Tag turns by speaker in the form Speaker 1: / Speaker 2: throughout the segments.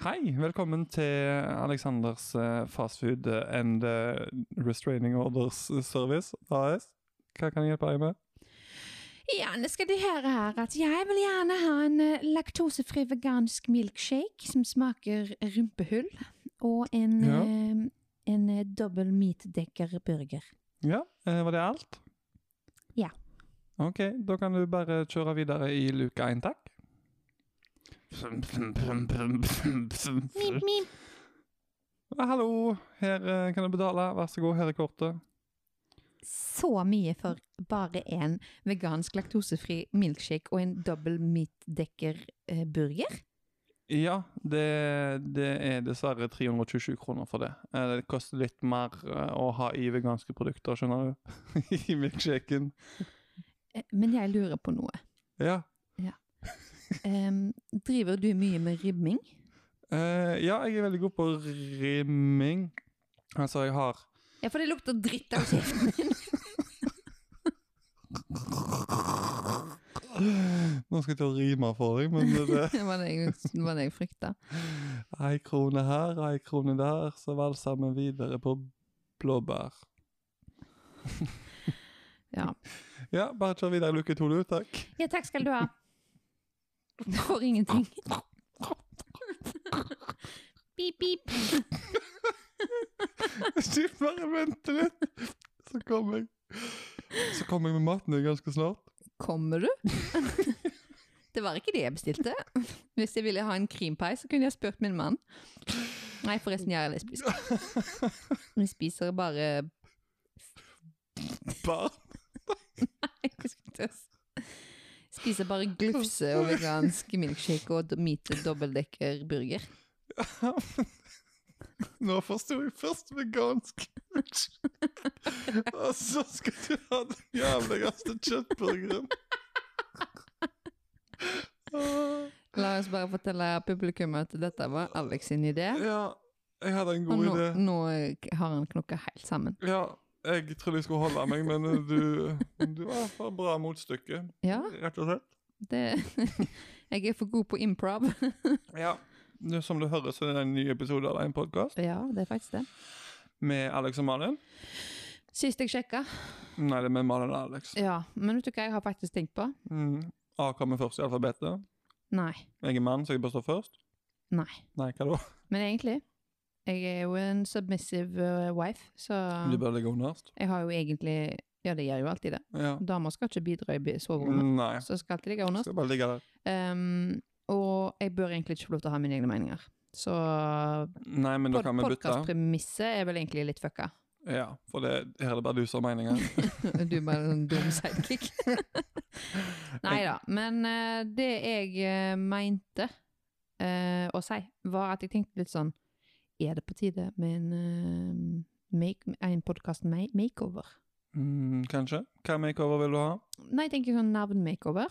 Speaker 1: Hei, velkommen til Aleksanders eh, fast food and eh, restraining orders eh, service AS. Hva kan jeg hjelpe deg med?
Speaker 2: Gjerne skal de høre her at jeg vil gjerne ha en eh, laktosefri vegansk milkshake som smaker rumpehull, og en,
Speaker 1: Ja.
Speaker 2: eh, en eh, dobbel meatdekker-burger.
Speaker 1: Ja, eh, var det alt?
Speaker 2: Ja.
Speaker 1: Ok, da kan du bare kjøre videre i luke 1, takk.
Speaker 2: Mip, mip.
Speaker 1: Ja, Hallo, her eh, kan du betale. Vær så god, her er kortet.
Speaker 2: Så mye for bare en vegansk laktosefri milkshake og en eh, dobbel meatdekker-burger?
Speaker 1: Ja, det, det er dessverre 327 kroner for det. Eh, Det koster litt mer eh, å ha i veganske produkter, skjønner du. I milkshaken.
Speaker 2: Eh, Men jeg lurer på noe.
Speaker 1: Ja.
Speaker 2: Em, driver du mye med rimming?
Speaker 1: Eh, ja, jeg er veldig god på rimming. Altså, jeg har
Speaker 2: Ja, for det lukter dritt av kjeften din.
Speaker 1: Nå skal jeg til å rime for deg, men det
Speaker 2: Det var det jeg, det var det jeg frykta.
Speaker 1: Ei krone her, ei krone der, så valser vi videre på blåbær.
Speaker 2: Ja.
Speaker 1: Ja, bare kjør videre luke to, du. Takk.
Speaker 2: Ja, takk skal du ha. For ingenting. Pip, pip.
Speaker 1: Skift bare vente litt, så kommer jeg. Så kommer jeg med maten din ganske snart.
Speaker 2: Kommer du? Det var ikke det jeg bestilte. Hvis jeg ville ha en krimpai, så kunne jeg spurt min mann. Nei, forresten, jeg er lesbisk. Vi spiser bare
Speaker 1: Barn.
Speaker 2: Jeg skulle til å s- Spiser bare glufse og vegansk milkshake og meat dobbeldekker burger.
Speaker 1: Nå forsto jeg først vegansk. Og så skal du ha den jævligste kjøttburgeren. Åh,
Speaker 2: La oss bare fortelle publikum at dette var Alex sin idé.
Speaker 1: Ja, jeg hadde en
Speaker 2: Og
Speaker 1: god
Speaker 2: nå,
Speaker 1: idé.
Speaker 2: nå eh, har han knokka helt sammen.
Speaker 1: Ja, jeg trodde jeg skulle holde meg, men du, du var for bra motstykke,
Speaker 2: Ja,
Speaker 1: rett og slett.
Speaker 2: det Jeg er for god på improv.
Speaker 1: Ja. Nå som du hører, så er det en ny episode av en podkast
Speaker 2: Ja, det er faktisk det.
Speaker 1: med Alex og Malin.
Speaker 2: Sist jeg sjekka.
Speaker 1: Nei, det er med Malin og Alex.
Speaker 2: Ja, men vet du hva jeg har faktisk tenkt på?
Speaker 1: Mm. A kommer først i alfabetet.
Speaker 2: Nei.
Speaker 1: Jeg er mann, så jeg bør stå først.
Speaker 2: Nei.
Speaker 1: Nei, hva da?
Speaker 2: Men egentlig Jeg er jo en submissive eh, wife, så
Speaker 1: Du bør ligge underst.
Speaker 2: jeg har jo egentlig Ja, det gjør jo alltid det.
Speaker 1: Ja.
Speaker 2: Damer skal ikke bidra i bi- soverommet,
Speaker 1: Nei.
Speaker 2: så skal alltid ligge underst.
Speaker 1: Skal bare ligge der.
Speaker 2: Um, og jeg bør egentlig ikke få lov til å ha mine egne meninger. Så
Speaker 1: Nei, men da
Speaker 2: pod
Speaker 1: kan vi bytte.
Speaker 2: podkastpremisset er vel egentlig litt fucka.
Speaker 1: Ja, for det, her er det bare du som har meninger.
Speaker 2: Du er bare en dum sidekick. Nei da. Men eh, det jeg eh, mente eh, å si, var at jeg tenkte litt sånn Er det på tide med en, eh, make, en podkast makeover?
Speaker 1: Mm, kanskje. Hva makeover vil du ha?
Speaker 2: Nei, jeg tenker sånn navn-makeover.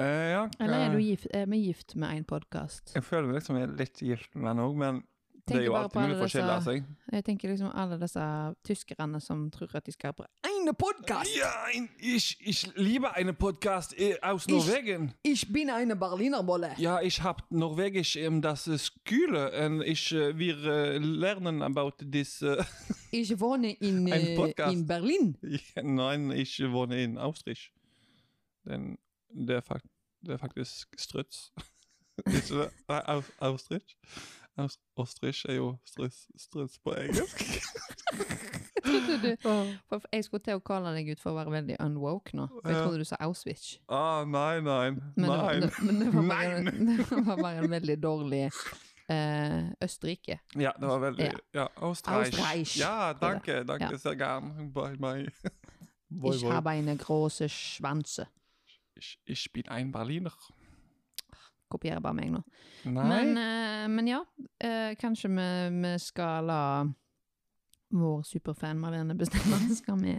Speaker 1: Eh, ja.
Speaker 2: Eller er,
Speaker 1: eh,
Speaker 2: du gift, er vi gift med en podkast?
Speaker 1: Jeg føler meg liksom jeg er litt gift med henne òg, men det er jo alltid mulig for å skille seg.
Speaker 2: Jeg tenker liksom alle disse tyskerne som tror at de skal ha bare Eine podkast!
Speaker 1: Ja, ein, ich, ich liebe eine Podcast eh, aus
Speaker 2: Ich-
Speaker 1: Norwegen.
Speaker 2: Ich bin eine Berlinerbolle!
Speaker 1: Ja, ich hab Norwegisch in das äh, Schule und ich äh, wir äh, lernen about this. äh,
Speaker 2: Ich wohne in,
Speaker 1: Ein
Speaker 2: eh,
Speaker 1: Podcast.
Speaker 2: in Berlin!
Speaker 1: Ja, Nein, ich wohne in Austrich. Den det er, fakt, det er faktisk struts. Ikke det? Nei, aus, äh, Austrich. Aus, oh, ostrich er jo struts, struts på engelsk.
Speaker 2: Trodde du- For for jeg skulle til å kalle deg ut for å være veldig unwoke nå. For jeg
Speaker 1: Ja.
Speaker 2: trodde du sa Auschwitz.
Speaker 1: Ah, nei, nei.
Speaker 2: Men, det var-
Speaker 1: nei.
Speaker 2: det- men det, var bare, det var bare en veldig dårlig eh, Østerrike.
Speaker 1: Ja, det var veldig Ja, Austrich.
Speaker 2: Austrich.
Speaker 1: Ja, danke, danke
Speaker 2: Ja.
Speaker 1: sehr gern. Bye, bye. Voi,
Speaker 2: Ich
Speaker 1: voi.
Speaker 2: habe eine große Schwanze.
Speaker 1: Ich, ich bin ein Berliner.
Speaker 2: Kopierer bare meg nå.
Speaker 1: Nei.
Speaker 2: Men, eh, men ja, eh, kanskje vi, vi skal la vår superfan Marlene bestemme. Skal vi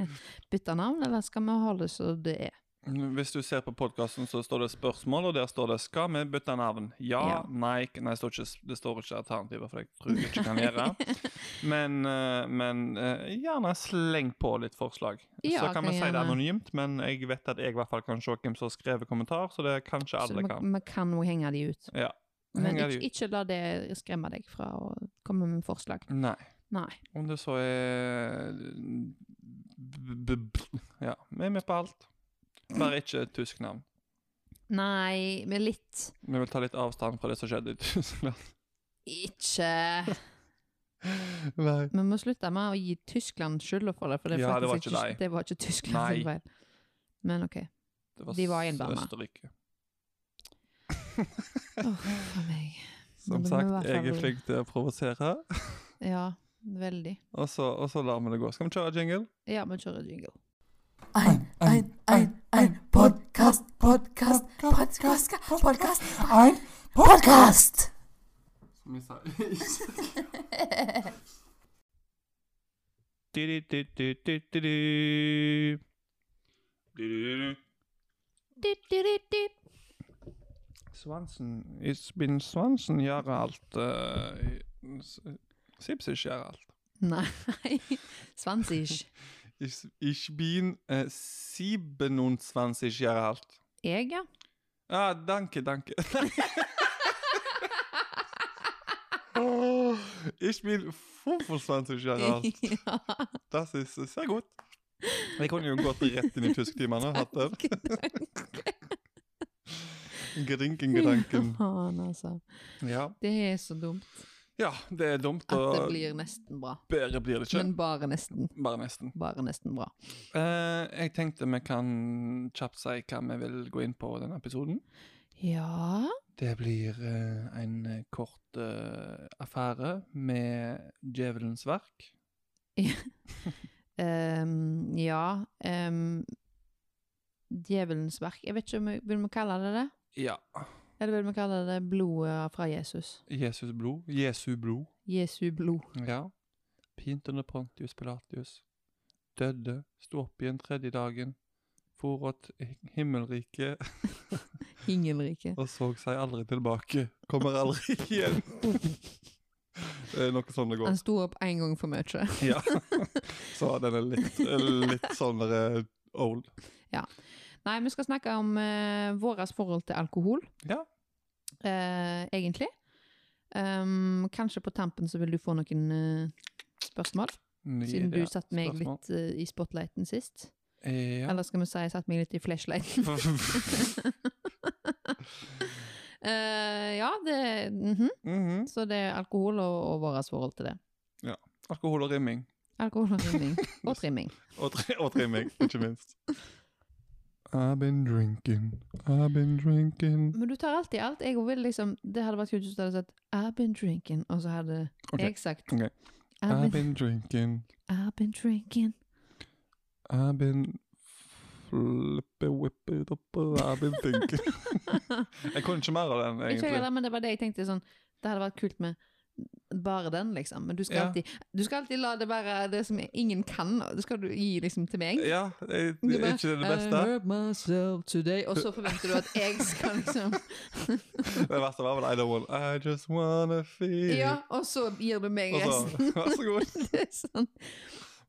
Speaker 2: bytte navn, eller skal vi holde så det er?
Speaker 1: Hvis du ser på podkasten, så står det spørsmål, og der står det 'Skal vi bytte navn?' Ja,
Speaker 2: Ja.
Speaker 1: nei k- Nei, det står ikke, det står ikke alternativer, for det tror jeg ikke kan gjøre. Men, eh, men eh, gjerne sleng på litt forslag.
Speaker 2: Ja,
Speaker 1: så kan
Speaker 2: kan
Speaker 1: vi si det
Speaker 2: gjerne.
Speaker 1: anonymt, men jeg vet at jeg i hvert fall kan se hvem som har skrevet kommentar, så det kanskje
Speaker 2: Så
Speaker 1: alle
Speaker 2: vi
Speaker 1: kan.
Speaker 2: vi kan jo henge de ut.
Speaker 1: Ja.
Speaker 2: Men
Speaker 1: Henger
Speaker 2: ikke,
Speaker 1: de ut?
Speaker 2: ikke la det skremme deg fra å komme med forslag.
Speaker 1: Nei.
Speaker 2: Nei.
Speaker 1: Om det så er b- b- b- Ja, vi er med på alt. Bare ikke et tysk navn.
Speaker 2: Nei, men litt
Speaker 1: Vi vil ta litt avstand fra det som skjedde i Tyskland.
Speaker 2: Ikke
Speaker 1: Nei.
Speaker 2: Vi må slutte med å gi Tyskland skylda for det, for det, er
Speaker 1: Ja, det var
Speaker 2: faktisk
Speaker 1: ikke deg.
Speaker 2: det var ikke Tyskland sin
Speaker 1: Nei.
Speaker 2: feil. Men OK.
Speaker 1: Det var,
Speaker 2: De var innblanda.
Speaker 1: Østerrike.
Speaker 2: Åh, for meg.
Speaker 1: Som
Speaker 2: Men det må
Speaker 1: sagt,
Speaker 2: være
Speaker 1: jeg er
Speaker 2: ferdig.
Speaker 1: flink til å provosere,
Speaker 2: Ja, veldig.
Speaker 1: og så, og så lar vi det gå. Skal vi kjøre jingle?
Speaker 2: Ja, vi kjører jingle.
Speaker 3: Ein, ein, ein, ein Podcast, Podcast, Podcast, Podcast, ein Podcast.
Speaker 1: Som jeg sa
Speaker 2: Dit, dit, dit, dit.
Speaker 1: Svansen It's been Svansen gjør alt eh, s- Sipsish gjør alt.
Speaker 2: Nei. Svansisch.
Speaker 1: Ich, ich bin eh, 27 gjør alt.
Speaker 2: Jeg, ja.
Speaker 1: Ah, danke, danke. Oh, ich bin 25 Jahre alt.
Speaker 2: ja.
Speaker 1: Das ist sehr gut. Jeg kunne jo gått rett inn i tysktimene og hatt den. Grinken, gedanken.
Speaker 2: Faen, altså.
Speaker 1: Ja.
Speaker 2: Det er så dumt
Speaker 1: ja, det er dumt,
Speaker 2: at det
Speaker 1: og
Speaker 2: blir nesten bra.
Speaker 1: bedre blir det ikke.
Speaker 2: Men bare nesten.
Speaker 1: Bare nesten.
Speaker 2: Bare nesten bra.
Speaker 1: Eh, jeg tenkte vi kan kjapt si hva vi vil gå inn på i denne episoden.
Speaker 2: Ja
Speaker 1: Det blir eh, en eh, kort eh, affære med Djevelens verk.
Speaker 2: ehm, Ja. ehm, djevelens verk. Jeg vet ikke om vi vil vi kalle det det.
Speaker 1: Ja.
Speaker 2: Eller vil vi kalle det blodet fra Jesus?
Speaker 1: Jesus blod. Jesu blod.
Speaker 2: Jesu blod.
Speaker 1: Ja. Pint under Pontius Pilatius. Døde, sto opp igjen tredje dagen, for åt himmelriket
Speaker 2: Himmelriket.
Speaker 1: og så seg aldri tilbake. Kommer aldri igjen. Det er noe sånn det
Speaker 2: Han
Speaker 1: går.
Speaker 2: sto opp én gang for mye.
Speaker 1: Ja. Så den er litt, litt sånn der, eh, old.
Speaker 2: Nei, vi skal snakke om uh, våres forhold til alkohol.
Speaker 1: Ja.
Speaker 2: Eh, egentlig. Ehm, kanskje på tampen så vil du få noen eh, spørsmål,
Speaker 1: Ny
Speaker 2: siden du
Speaker 1: idé.
Speaker 2: satte meg
Speaker 1: Spørsmål.
Speaker 2: litt eh, i spotlighten sist.
Speaker 1: Eh, Ja.
Speaker 2: Eller skal vi si jeg satte meg litt i flashlighten? Eh, ja, det mhm.
Speaker 1: Mhm.
Speaker 2: Så det er alkohol og, og våres forhold til det.
Speaker 1: Alkohol og rimming.
Speaker 2: Alkohol og trimming. Og trimming.
Speaker 1: Og, tri og trimming, ikke minst. I've been drinking, I've been drinking
Speaker 2: Men du tar alltid alt. Jeg vil liksom, det hadde vært kult hvis du hadde sagt I've been drinking, og så hadde
Speaker 1: Ok,
Speaker 2: jeg sagt
Speaker 1: ok.
Speaker 2: I've,
Speaker 1: I've
Speaker 2: been,
Speaker 1: been drinking,
Speaker 2: I've been drinking.
Speaker 1: I've been flippe whippet opp I've been thinking. jeg kunne ikke mer av den,
Speaker 2: Ikke jeg
Speaker 1: egentlig.
Speaker 2: heller, men det var det jeg tenkte sånn Det hadde vært kult med bare den, liksom. Men du skal,
Speaker 1: Ja.
Speaker 2: alltid, du skal alltid la det være det som ingen kan, og det skal du gi liksom til meg.
Speaker 1: Ja, jeg,
Speaker 2: Du
Speaker 1: er
Speaker 2: bare,
Speaker 1: ikke det det
Speaker 2: I
Speaker 1: beste?
Speaker 2: hurt myself today. Og så forventer du at jeg skal liksom
Speaker 1: Det verste var vel I don't want I just wanna feel
Speaker 2: Ja, og så gir du meg
Speaker 1: Og så,
Speaker 2: resten.
Speaker 1: Vær så god.
Speaker 2: Det er sånn,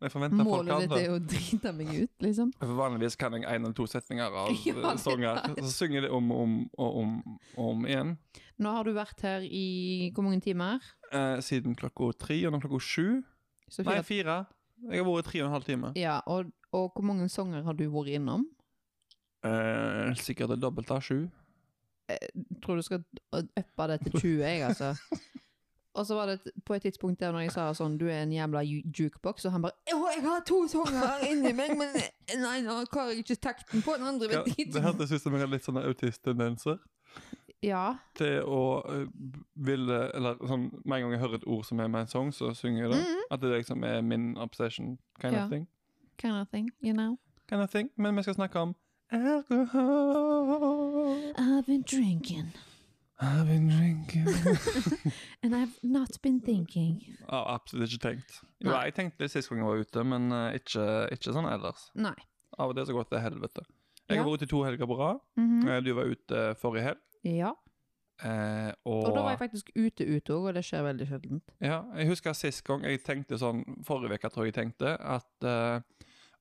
Speaker 1: Jeg forventer folk
Speaker 2: målet
Speaker 1: kan
Speaker 2: ditt
Speaker 1: det.
Speaker 2: er å drite meg ut, liksom.
Speaker 1: For vanligvis kan jeg en eller to setninger av
Speaker 2: Ja,
Speaker 1: eh,
Speaker 2: det er
Speaker 1: sanger. Så synger jeg det om og om og om, og om igjen.
Speaker 2: Nå har du vært her i hvor mange timer?
Speaker 1: Eh, siden klokka tre, og nå er klokka sju.
Speaker 2: Så
Speaker 1: Nei,
Speaker 2: fire-
Speaker 1: fire. Jeg har vært tre og en halv time.
Speaker 2: ja, og, og hvor mange sanger har du vært innom?
Speaker 1: Eh, sikkert det dobbelte av sju.
Speaker 2: Tror du skal uppe det til 20, jeg, altså. Og så var det et- på et tidspunkt der når jeg sa sånn Du er en jævla ju- jukebox, og han bare Jo, jeg har to sanger inni meg, men nei, nå klarer jeg ikke takten på den andre.
Speaker 1: Ja,
Speaker 2: vet jeg
Speaker 1: det
Speaker 2: ikke.
Speaker 1: hørtes ut som jeg hadde litt sånn sånne autisttendenser
Speaker 2: Ja.
Speaker 1: til å eh, ville Eller sånn med en gang jeg hører et ord som er med en sang, så synger jeg det. At det liksom er min obsession kind
Speaker 2: Mm-hmm. Ja.
Speaker 1: of thing.
Speaker 2: Kind of thing, you know.
Speaker 1: Kind of thing. Men vi skal snakke om alkohol.
Speaker 2: I've been drinking,
Speaker 1: I've been drinking
Speaker 2: and I've not been thinking.
Speaker 1: Ja, Absolutt ikke tenkt. Jo,
Speaker 2: Nei.
Speaker 1: jeg tenkte det sist gang jeg var ute, men eh, ikke, ikke sånn ellers.
Speaker 2: Nei.
Speaker 1: Av og til så går det til helvete. Jeg har
Speaker 2: Ja.
Speaker 1: vært ute i to helger på rad.
Speaker 2: Mhm.
Speaker 1: Eh, Du var ute forrige helg.
Speaker 2: Ja.
Speaker 1: Eh, og,
Speaker 2: Og da var jeg faktisk ute ute òg, og det skjer veldig sjelden.
Speaker 1: ja, jeg husker sist gang jeg tenkte sånn, forrige uke tror jeg jeg tenkte, at eh,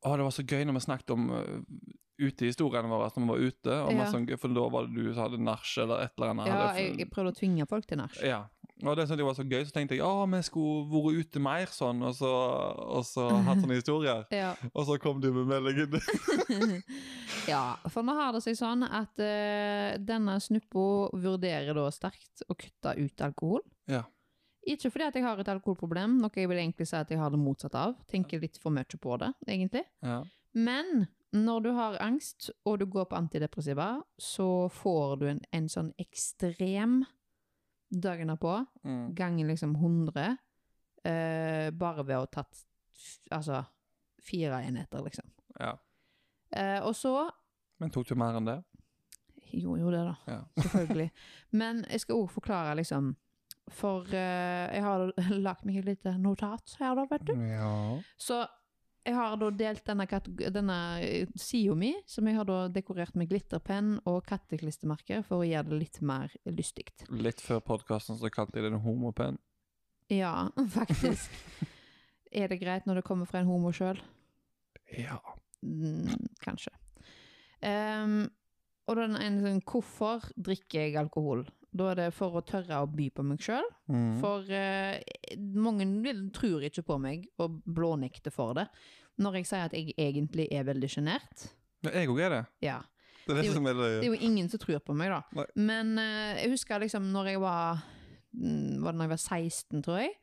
Speaker 1: å, det var så gøy når vi snakket om eh, ute i historiene våre, at når vi var ute, og
Speaker 2: Ja.
Speaker 1: masse sånn gøy, for da var det du som hadde nach eller et eller annet.
Speaker 2: Ja,
Speaker 1: eller-
Speaker 2: jeg, jeg prøvde å tvinge folk til nach.
Speaker 1: Ja. Og det syntes jeg var så gøy, så tenkte jeg at vi skulle vært ute mer sånn, og så, og så hatt sånne historier.
Speaker 2: Ja.
Speaker 1: Og så kom du med meldingen.
Speaker 2: ja, for nå har det seg sånn at eh, denne snuppo vurderer da sterkt å kutte ut alkohol.
Speaker 1: Ja.
Speaker 2: Ikke fordi at jeg har et alkoholproblem, noe jeg vil egentlig si at jeg har det motsatt av. Tenker litt for mye på det, egentlig.
Speaker 1: Ja.
Speaker 2: Men når du har angst, og du går på antidepressiva, så får du en, en sånn ekstrem dagen derpå,
Speaker 1: Mm.
Speaker 2: ganger liksom 100, eh, bare ved å ha tatt f- altså, fire enheter, liksom.
Speaker 1: ja.
Speaker 2: Eh, og så
Speaker 1: Men tok du mer enn det?
Speaker 2: gjorde jo det, da.
Speaker 1: Ja.
Speaker 2: Selvfølgelig. Men jeg skal òg forklare, liksom. For eh, jeg har lagt meg et lite notat her, da, vet du.
Speaker 1: Ja.
Speaker 2: Så jeg har da delt denne, kateg- denne eh, sida mi, som jeg har da dekorert med glitterpenn og katteklistremerker for å gjøre det litt mer lystig.
Speaker 1: Litt før podkasten så kalte jeg det en homopenn.
Speaker 2: Ja, faktisk. er det greit når det kommer fra en homo sjøl?
Speaker 1: Ja.
Speaker 2: Mm, kanskje. Ehm, og den ene sånn Hvorfor drikker jeg alkohol? Da er det for å tørre å by på meg sjøl.
Speaker 1: Mm.
Speaker 2: For eh, mange vil- tror ikke på meg og blånekter for det. Når jeg sier at jeg egentlig er veldig sjenert.
Speaker 1: Ja, Jeg òg er det.
Speaker 2: Ja.
Speaker 1: Det er det,
Speaker 2: Det er jo-
Speaker 1: som er det.
Speaker 2: Det er jo ingen som tror på meg, da.
Speaker 1: Nei.
Speaker 2: Men eh, jeg husker liksom når jeg var mm, Var det når jeg var 16, tror jeg?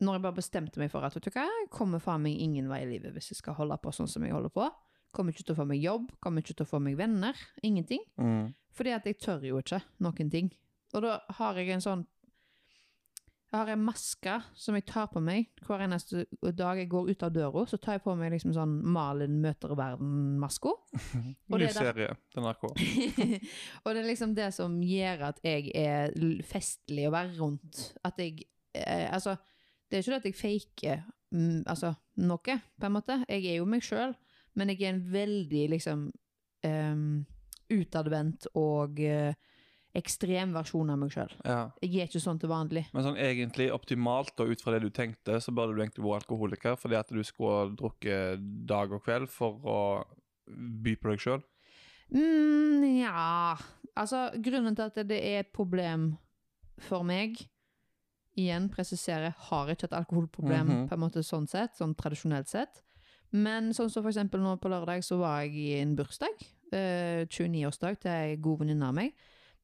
Speaker 2: Når jeg bare bestemte meg for at vet du hva, jeg kommer faen meg ingen vei i livet hvis jeg skal holde på sånn som jeg holder på. Kommer ikke til å få meg jobb, kommer ikke til å få meg venner. Ingenting.
Speaker 1: Mm.
Speaker 2: Fordi at jeg tør jo ikke noen ting. Og da har jeg en sånn Jeg har en maske som jeg tar på meg hver eneste dag jeg går ut av døra. Så tar jeg på meg liksom sånn Malin møter verden-maska.
Speaker 1: Ny
Speaker 2: Og det er der-
Speaker 1: serie til NRK.
Speaker 2: og det er liksom det som gjør at jeg er l- festlig å være rundt. At jeg eh, Altså, det er ikke det at jeg faker mm, altså, noe, på en måte. Jeg er jo meg sjøl, men jeg er en veldig liksom em, utadvendt og eh, ekstrem versjon av meg sjøl.
Speaker 1: Ja.
Speaker 2: Jeg er ikke sånn til vanlig.
Speaker 1: Men sånn egentlig optimalt og ut fra det du tenkte, så burde du egentlig vært alkoholiker fordi at du skulle drukke dag og kveld for å by på deg sjøl.
Speaker 2: Mm, ja Altså, grunnen til at det er et problem for meg Igjen presiserer, har ikke et alkoholproblem
Speaker 1: Mhm.
Speaker 2: på en måte sånn sett, sånn tradisjonelt sett. Men sånn som for eksempel nå på lørdag så var jeg i en bursdag, eh, 29-årsdag til ei god venninne av meg.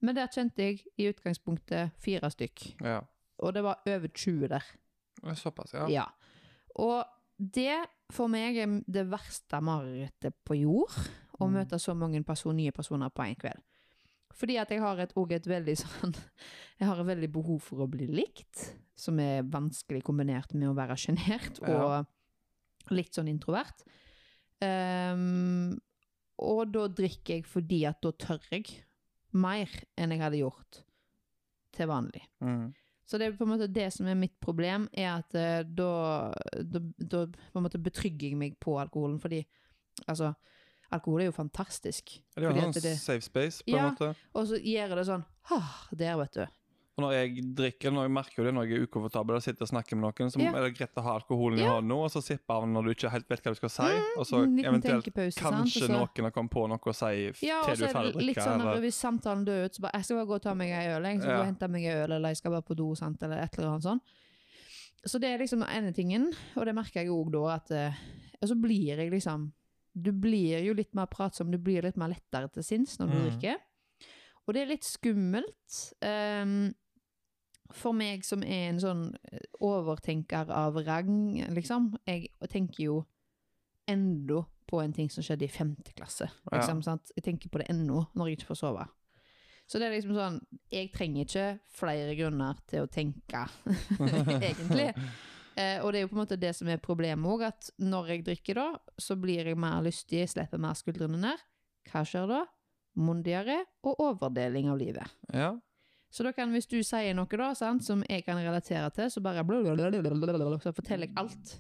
Speaker 2: Men der kjente jeg i utgangspunktet fire stykk,
Speaker 1: Ja.
Speaker 2: og det var over 20 der.
Speaker 1: Såpass, ja.
Speaker 2: Ja. Og det for meg er det verste marerittet på jord. Å
Speaker 1: Mm.
Speaker 2: møte så mange person, nye personer på en kveld. Fordi at jeg har et, og et veldig sånn Jeg har et veldig behov for å bli likt. Som er vanskelig kombinert med å være sjenert og
Speaker 1: Ja.
Speaker 2: litt sånn introvert. Ehm, og da drikker jeg fordi at da tør jeg mer enn jeg hadde gjort til vanlig.
Speaker 1: Mm.
Speaker 2: Så det er på en måte det som er mitt problem, er at eh, da, da, da på en måte betrygger jeg meg på alkoholen, fordi altså Alkohol er jo fantastisk.
Speaker 1: Det er jo
Speaker 2: Fordi
Speaker 1: en
Speaker 2: at
Speaker 1: sånn
Speaker 2: det-
Speaker 1: safe space, på
Speaker 2: Ja.
Speaker 1: en måte.
Speaker 2: Og så gjør det sånn «Hah, Der, vet du.
Speaker 1: Og når jeg drikker, når jeg merker jo det når jeg er ukomfortabel og sitter og snakker med noen, så
Speaker 2: Ja.
Speaker 1: er det greit å ha alkoholen i hånden nå, og så sippe av den når du ikke helt vet hva du skal si, og så
Speaker 2: En liten
Speaker 1: eventuelt
Speaker 2: tenkepause.
Speaker 1: kanskje
Speaker 2: Mm, sant? Og så-
Speaker 1: noen har kommet på noe å si f-
Speaker 2: Ja, og
Speaker 1: til du
Speaker 2: så
Speaker 1: er
Speaker 2: er
Speaker 1: ferdig å
Speaker 2: det litt
Speaker 1: drikke.
Speaker 2: sånn at
Speaker 1: eller,
Speaker 2: hvis samtalen dør ut, så bare Jeg skal bare gå og ta meg ei øl, jeg skal
Speaker 1: Ja.
Speaker 2: gå og hente meg ei øl, eller jeg skal bare på do, sant, eller et eller annet sånn. Så det er liksom ene tingen, og det merker jeg òg da at eh, Og så blir jeg liksom Du blir jo litt mer pratsom, du blir litt mer lettere til sinns når du
Speaker 1: Mm.
Speaker 2: drikker. Og det er litt skummelt. ehm, for meg som er en sånn overtenker av rang, liksom. Jeg tenker jo ennå på en ting som skjedde i femte klasse.
Speaker 1: Ja.
Speaker 2: Liksom, sant? Jeg tenker på det ennå når jeg ikke får sove. Så det er liksom sånn Jeg trenger ikke flere grunner til å tenke, egentlig. Eh, og det er jo på en måte det som er problemet òg, at når jeg drikker da, så blir jeg mer lystig, slipper mer skuldrene ned. Hva skjer da? Mondigere og overdeling av livet.
Speaker 1: ja.
Speaker 2: Så da kan, hvis du sier noe da, sant, som jeg kan relatere til, så bare blablabla, Så forteller jeg alt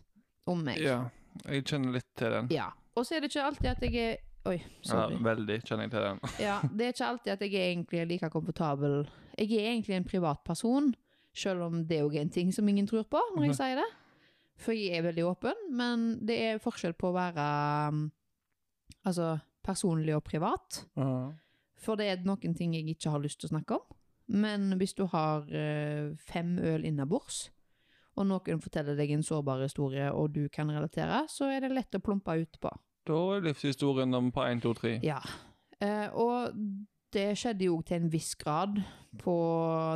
Speaker 2: om meg.
Speaker 1: ja. Jeg kjenner litt til den.
Speaker 2: Ja. Og så er det ikke alltid at jeg er Oi,
Speaker 1: Ja,
Speaker 2: sorry.
Speaker 1: veldig kjenner jeg til den.
Speaker 2: Ja, det er ikke alltid at jeg er egentlig like komfortabel. Jeg er egentlig en privatperson, selv om det òg er en ting som ingen tror på når jeg sier det. For jeg er veldig åpen, men det er forskjell på å være um, altså, personlig og privat.
Speaker 1: Ja.
Speaker 2: For det er noen ting jeg ikke har lyst til å snakke om. Men hvis du har eh, fem øl innabords, og noen forteller deg en sårbar historie, og du kan relatere, så er det lett å plumpe utpå.
Speaker 1: Da er livshistorien om på 1, 2, 3.
Speaker 2: Ja. Eh, og det skjedde jo til en viss grad på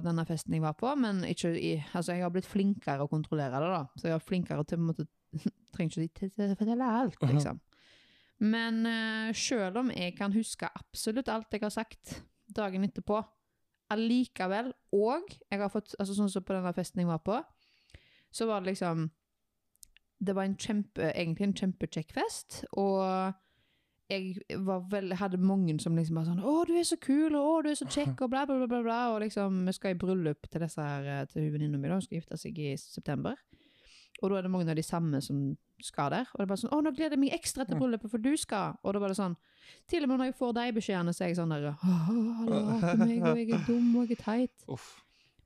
Speaker 2: denne festen jeg var på, men ikke i, altså jeg har blitt flinkere å kontrollere det, da. Så jeg er flinkere til å måtte, Trenger ikke de til å fortelle alt, liksom. Men eh, selv om jeg kan huske absolutt alt jeg har sagt dagen etterpå, allikevel, og jeg har fått, altså sånn som på denne festen jeg var på, så var det liksom Det var en kjempe, egentlig en kjempekjekk fest, og jeg var vel, hadde mange som liksom bare sånn 'Å, du er så kul, og å, du er så kjekk', og bla, bla, bla, bla, bla. Og liksom, vi skal i bryllup til disse her, eh, til hun venninna mi, da. Hun skal gifte seg i september. Og da er det mange av de samme som skal der. Og det er bare sånn 'Å, nå gleder jeg meg ekstra til bryllupet, for du skal'. Og da var det sånn Til og med når jeg får de beskjedene, så er jeg sånn der 'Å, alle hater meg, og jeg er dum, og jeg er teit'.
Speaker 1: Uff.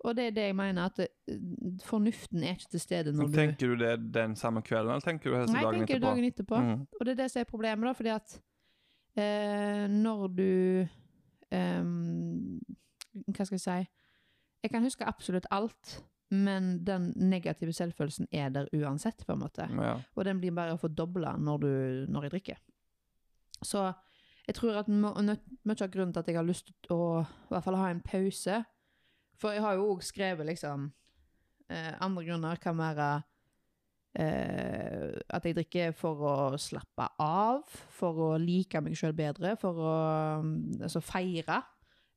Speaker 2: Og det er det jeg mener, at eh, fornuften er ikke til stede når du
Speaker 1: Tenker du det den samme kvelden, eller tenker du det
Speaker 2: Nei, jeg
Speaker 1: dagen
Speaker 2: tenker
Speaker 1: etterpå?
Speaker 2: dagen etterpå.
Speaker 1: Mm.
Speaker 2: Og det er det som er problemet, da, fordi at eh, når du ehm, Hva skal jeg si Jeg kan huske absolutt alt, men den negative selvfølelsen er der uansett, på en måte.
Speaker 1: Mm, Ja.
Speaker 2: Og den blir bare fordobla når, du- når jeg drikker. Så jeg tror at må- nø- mye av grunnen til at jeg har lyst til å i hvert fall ha en pause For jeg har jo òg skrevet liksom eh, Andre grunner kan være eh, at jeg drikker for å slappe av, for å like meg sjøl bedre, for å mm, altså, feire.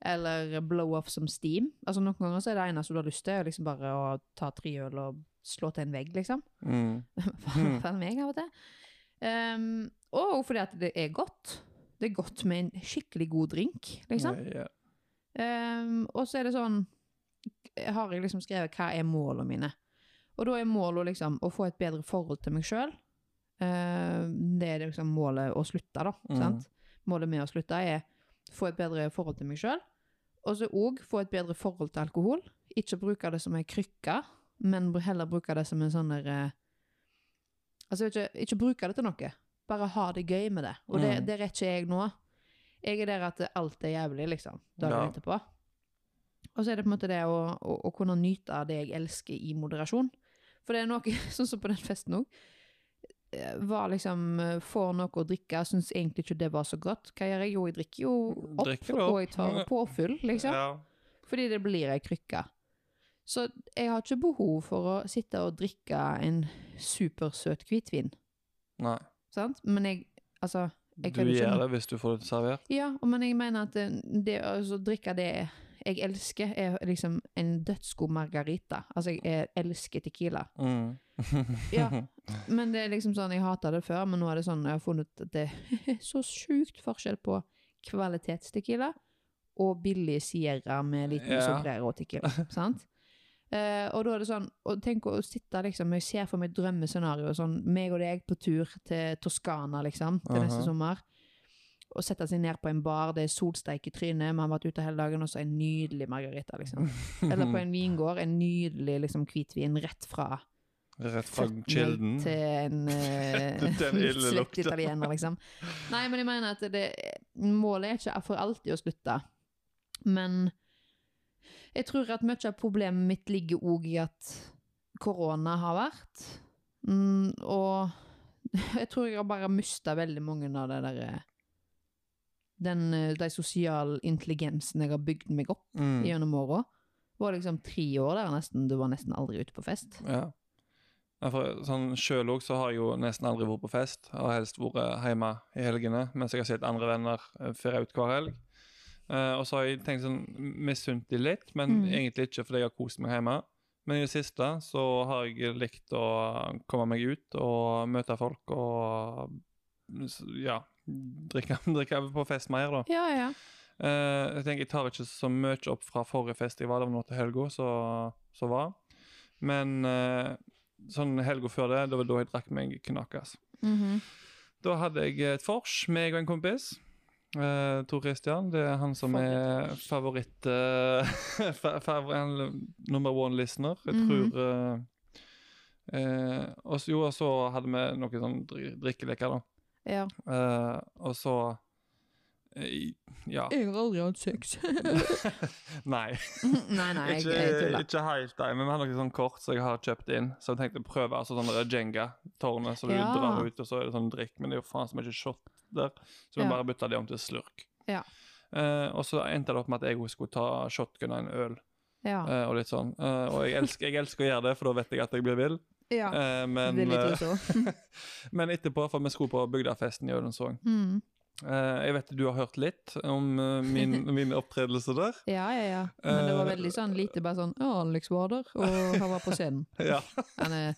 Speaker 2: Eller blow off som steam. Altså Noen ganger så er det eneste du har lyst til, er liksom bare å ta tre øl og slå til en vegg, liksom.
Speaker 1: Mm. Mm.
Speaker 2: For meg av og til. Ehm, og fordi at det er godt. Det er godt med en skikkelig god drink, liksom.
Speaker 1: Ja, ja.
Speaker 2: Ehm, og så er det sånn Har jeg liksom skrevet hva er målene mine? Og da er målet liksom å få et bedre forhold til meg sjøl. det er liksom målet å slutte, da.
Speaker 1: Mm.
Speaker 2: Sant? Målet med å slutte er få et bedre forhold til meg sjøl. Og så òg få et bedre forhold til alkohol. Ikke bruke det som ei krykke, men br- heller bruke det som en sånn der eh, Altså ikke, ikke bruke det til noe. Bare ha det gøy med det. Og det,
Speaker 1: Mm.
Speaker 2: der er ikke jeg nå. Jeg er der at alt er jævlig, liksom. Dagen
Speaker 1: Ja.
Speaker 2: etterpå. Og så er det på en måte det å, å, å kunne nyte av det jeg elsker i moderasjon. For det er noe, sånn som på den festen òg, var liksom eh, Får noe å drikke, syns egentlig ikke det var så godt. Hva gjør jeg? Jo, jeg drikker jo opp,
Speaker 1: Drikker det opp.
Speaker 2: og jeg tar påfyll, liksom.
Speaker 1: Ja.
Speaker 2: Fordi det blir ei krykke. Så jeg har ikke behov for å sitte og drikke en supersøt hvitvin,
Speaker 1: Nei.
Speaker 2: sant? Men jeg Altså, Jeg
Speaker 1: Du
Speaker 2: kan ikke-
Speaker 1: gjør det hvis du får det servert.
Speaker 2: ja, og men jeg mener at det, det å altså, drikke det jeg elsker, er liksom en dødsgod margarita. Altså, jeg, jeg elsker tequila.
Speaker 1: Mm.
Speaker 2: Ja, men det er liksom sånn, jeg hatet det før, men nå er det sånn, jeg har funnet at det er så sykt forskjell på kvalitetstequila og billig Sierra med liten
Speaker 1: Ja.
Speaker 2: sombrero-tequila, sant? Eh, og da er det sånn, og tenk å sitte liksom, jeg ser for meg et drømmescenario, sånn, meg og deg på tur til Toskana, liksom, til neste
Speaker 1: Aha.
Speaker 2: sommer, og sette seg ned på en bar, det er solsteik i trynet, man har vært ute hele dagen, og så en nydelig margarita, liksom. Eller på en vingård, en nydelig, liksom, hvitvin rett fra
Speaker 1: Rett fra
Speaker 2: fått
Speaker 1: kilden.
Speaker 2: meg til en
Speaker 1: Til en
Speaker 2: uh,
Speaker 1: ille
Speaker 2: livsløpt
Speaker 1: lukter.
Speaker 2: italiener, liksom. Nei, men jeg mener at det, målet er ikke for alltid å slutte. Men jeg tror at mye av problemet mitt ligger òg i at korona har vært. Mm, og jeg tror jeg har bare mista veldig mange av det derre den, eh, de sosiale intelligensen jeg har bygd meg opp
Speaker 1: Mm.
Speaker 2: gjennom åra. Var liksom tre år der nesten, du var nesten aldri ute på fest.
Speaker 1: Ja. Ja, for sånn Sjøl òg så har jeg jo nesten aldri vært på fest. Jeg har helst vært eh, hjemme i helgene mens jeg har sett andre venner eh, føre ut hver helg. Eh, og så har jeg tenkt sånn misuntelig litt, men
Speaker 2: Mm.
Speaker 1: egentlig ikke fordi jeg har kost meg hjemme. Men i det siste så har jeg likt å komme meg ut og møte folk og s- ja, drikke, drikke på fest mer, da.
Speaker 2: Ja, ja.
Speaker 1: Eh, jeg tenker jeg tar ikke så mye opp fra forrige festival, det var nå til helga så, så var. Men eh, sånn helga før det, det var da jeg drakk meg knakas.
Speaker 2: Mhm.
Speaker 1: Da Da hadde jeg et vors, meg og en kompis. Eh, Tor Christian, det er han som er favoritt eh, fa- favor- han- Number one-listener. Jeg
Speaker 2: Mhm.
Speaker 1: tror eh, eh, Og så- jo, og så hadde vi noen sånn dri- drikkeleker, da.
Speaker 2: Ja.
Speaker 1: Eh, og så eh, Ja.
Speaker 2: Jeg har aldri hatt sex.
Speaker 1: Nei.
Speaker 2: nei, nei, jeg, jeg
Speaker 1: Ikke,
Speaker 2: tuller.
Speaker 1: ikke helt, nei, men vi har noen sånn kort som jeg har kjøpt inn. Så jeg tenkte å prøve altså sånn der Jenga-tårnet, så du
Speaker 2: Ja.
Speaker 1: drar ut, og så er det sånn drikk. Men det er jo faen så mye shot der, så vi
Speaker 2: Ja.
Speaker 1: bare bytta det om til slurk.
Speaker 2: Ja.
Speaker 1: Eh, og så endte det opp med at jeg også skulle ta shotgun av en øl.
Speaker 2: Ja.
Speaker 1: eh, og litt sånn. Eh, og jeg elsker, jeg elsker å gjøre det, for da vet jeg at jeg blir vill.
Speaker 2: ja.
Speaker 1: Eh, men,
Speaker 2: Vil jeg
Speaker 1: eh,
Speaker 2: tro så.
Speaker 1: men etterpå, for vi skulle på bygdafesten i Ødensvåg.
Speaker 2: Mm.
Speaker 1: Eh, jeg vet du har hørt litt om eh, min, min opptredelse der.
Speaker 2: Ja, ja, ja. Men det var
Speaker 1: Eh,
Speaker 2: veldig sånn lite bare sånn Ja, Alex var der, og han var på scenen.
Speaker 1: Ja,
Speaker 2: Han er,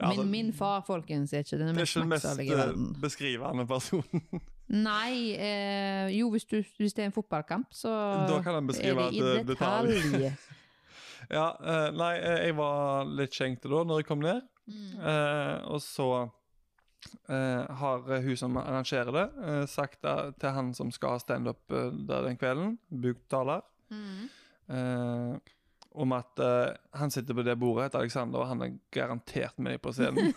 Speaker 1: altså,
Speaker 2: min, min far, folkens, er ikke den
Speaker 1: det er
Speaker 2: mest
Speaker 1: ikke den mest
Speaker 2: maktsalige i
Speaker 1: eh,
Speaker 2: verden.
Speaker 1: beskrivende personen.
Speaker 2: Nei, eh, jo, hvis, du, hvis det er en fotballkamp, så
Speaker 1: Da kan han
Speaker 2: er
Speaker 1: beskrive
Speaker 2: det
Speaker 1: at
Speaker 2: i
Speaker 1: eh, det tar vi.
Speaker 2: detalj.
Speaker 1: Ja, eh, nei, eh, jeg var litt skjenkt da når jeg kom ned.
Speaker 2: Mm.
Speaker 1: Eh, og så eh, har hun som arrangerer det, eh, sagt da, til han som skal ha standup eh, der den kvelden, Bugtaler,
Speaker 2: Mm.
Speaker 1: eh, om at eh, han sitter på det bordet, heter Alexander, og han er garantert med deg på scenen.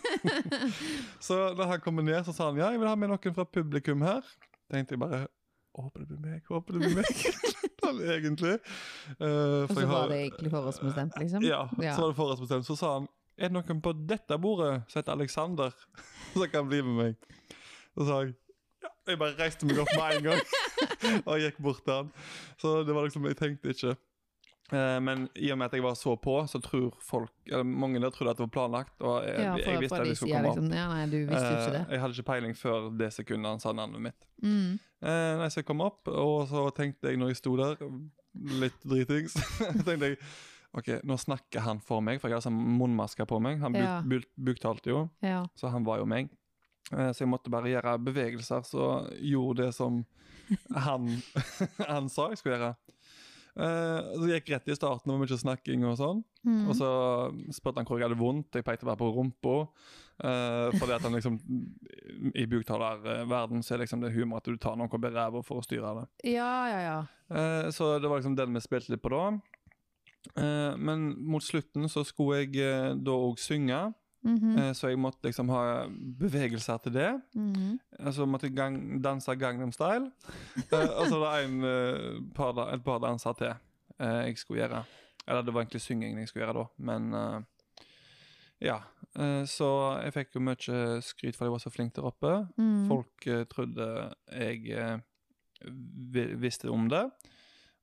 Speaker 1: så da han kommer ned, så sa han ja, jeg vil ha med noen fra publikum her. Tenkte jeg bare Håper det blir meg, håper det blir meg. Sånn egentlig. Eh,
Speaker 2: Og
Speaker 1: for
Speaker 2: så
Speaker 1: jeg har-
Speaker 2: var det egentlig forhåndsbestemt, liksom?
Speaker 1: ja,
Speaker 2: Ja.
Speaker 1: så var det forhåndsbestemt. Så sa han er det noen på dette bordet som heter Alexander, som kan bli med meg. Så sa jeg ja. Jeg bare reiste meg opp med en gang og gikk bort til han. Så det var liksom, jeg tenkte ikke. Eh, Men i og med at jeg var så på, så tror folk, eller mange der trodde at det var planlagt. Og jeg,
Speaker 2: Ja,
Speaker 1: jeg
Speaker 2: for,
Speaker 1: visste
Speaker 2: for
Speaker 1: at
Speaker 2: de
Speaker 1: jeg skulle
Speaker 2: sier
Speaker 1: komme opp.
Speaker 2: liksom Ja, nei, du visste jo ikke
Speaker 1: Eh,
Speaker 2: det.
Speaker 1: Jeg hadde ikke peiling før det sekundet han sa navnet mitt.
Speaker 2: Mm.
Speaker 1: Eh, nei, så jeg kom opp, og så tenkte jeg når jeg sto der, litt dritings tenkte jeg, ok, nå snakker han for meg, for jeg hadde sånn munnmaske på meg. Han buk,
Speaker 2: Ja.
Speaker 1: buk, buktalte jo,
Speaker 2: Ja.
Speaker 1: så han var jo meg. Eh, så jeg måtte bare gjøre bevegelser, så gjorde det som han, han sa jeg skulle gjøre. Eh, så gikk jeg rett i starten, det var mye snakking og sånn.
Speaker 2: Mm.
Speaker 1: Og så spurte han hvor jeg hadde vondt. Jeg pekte bare på rumpa. Uh, fordi at han liksom I buktalerverden så er liksom det humor at du tar noen ved ræva for å styre det.
Speaker 2: ja, ja, ja.
Speaker 1: Eh, så det var liksom den vi spilte litt på da. Eh, men mot slutten så skulle jeg eh, da òg synge,
Speaker 2: Mhm,
Speaker 1: eh, så jeg måtte liksom ha bevegelser til det.
Speaker 2: mhm.
Speaker 1: Og så måtte Altså, jeg gang, danse Gangnam Style. Eh, og så var det en, eh, par, da- et par danser til eh, jeg skulle gjøre. Eller det var egentlig syngingen jeg skulle gjøre da, men eh, Ja. Eh, så jeg fikk jo mye skryt for at jeg var så flink der oppe.
Speaker 2: Mm.
Speaker 1: Folk eh, trodde jeg eh, vi- visste om det.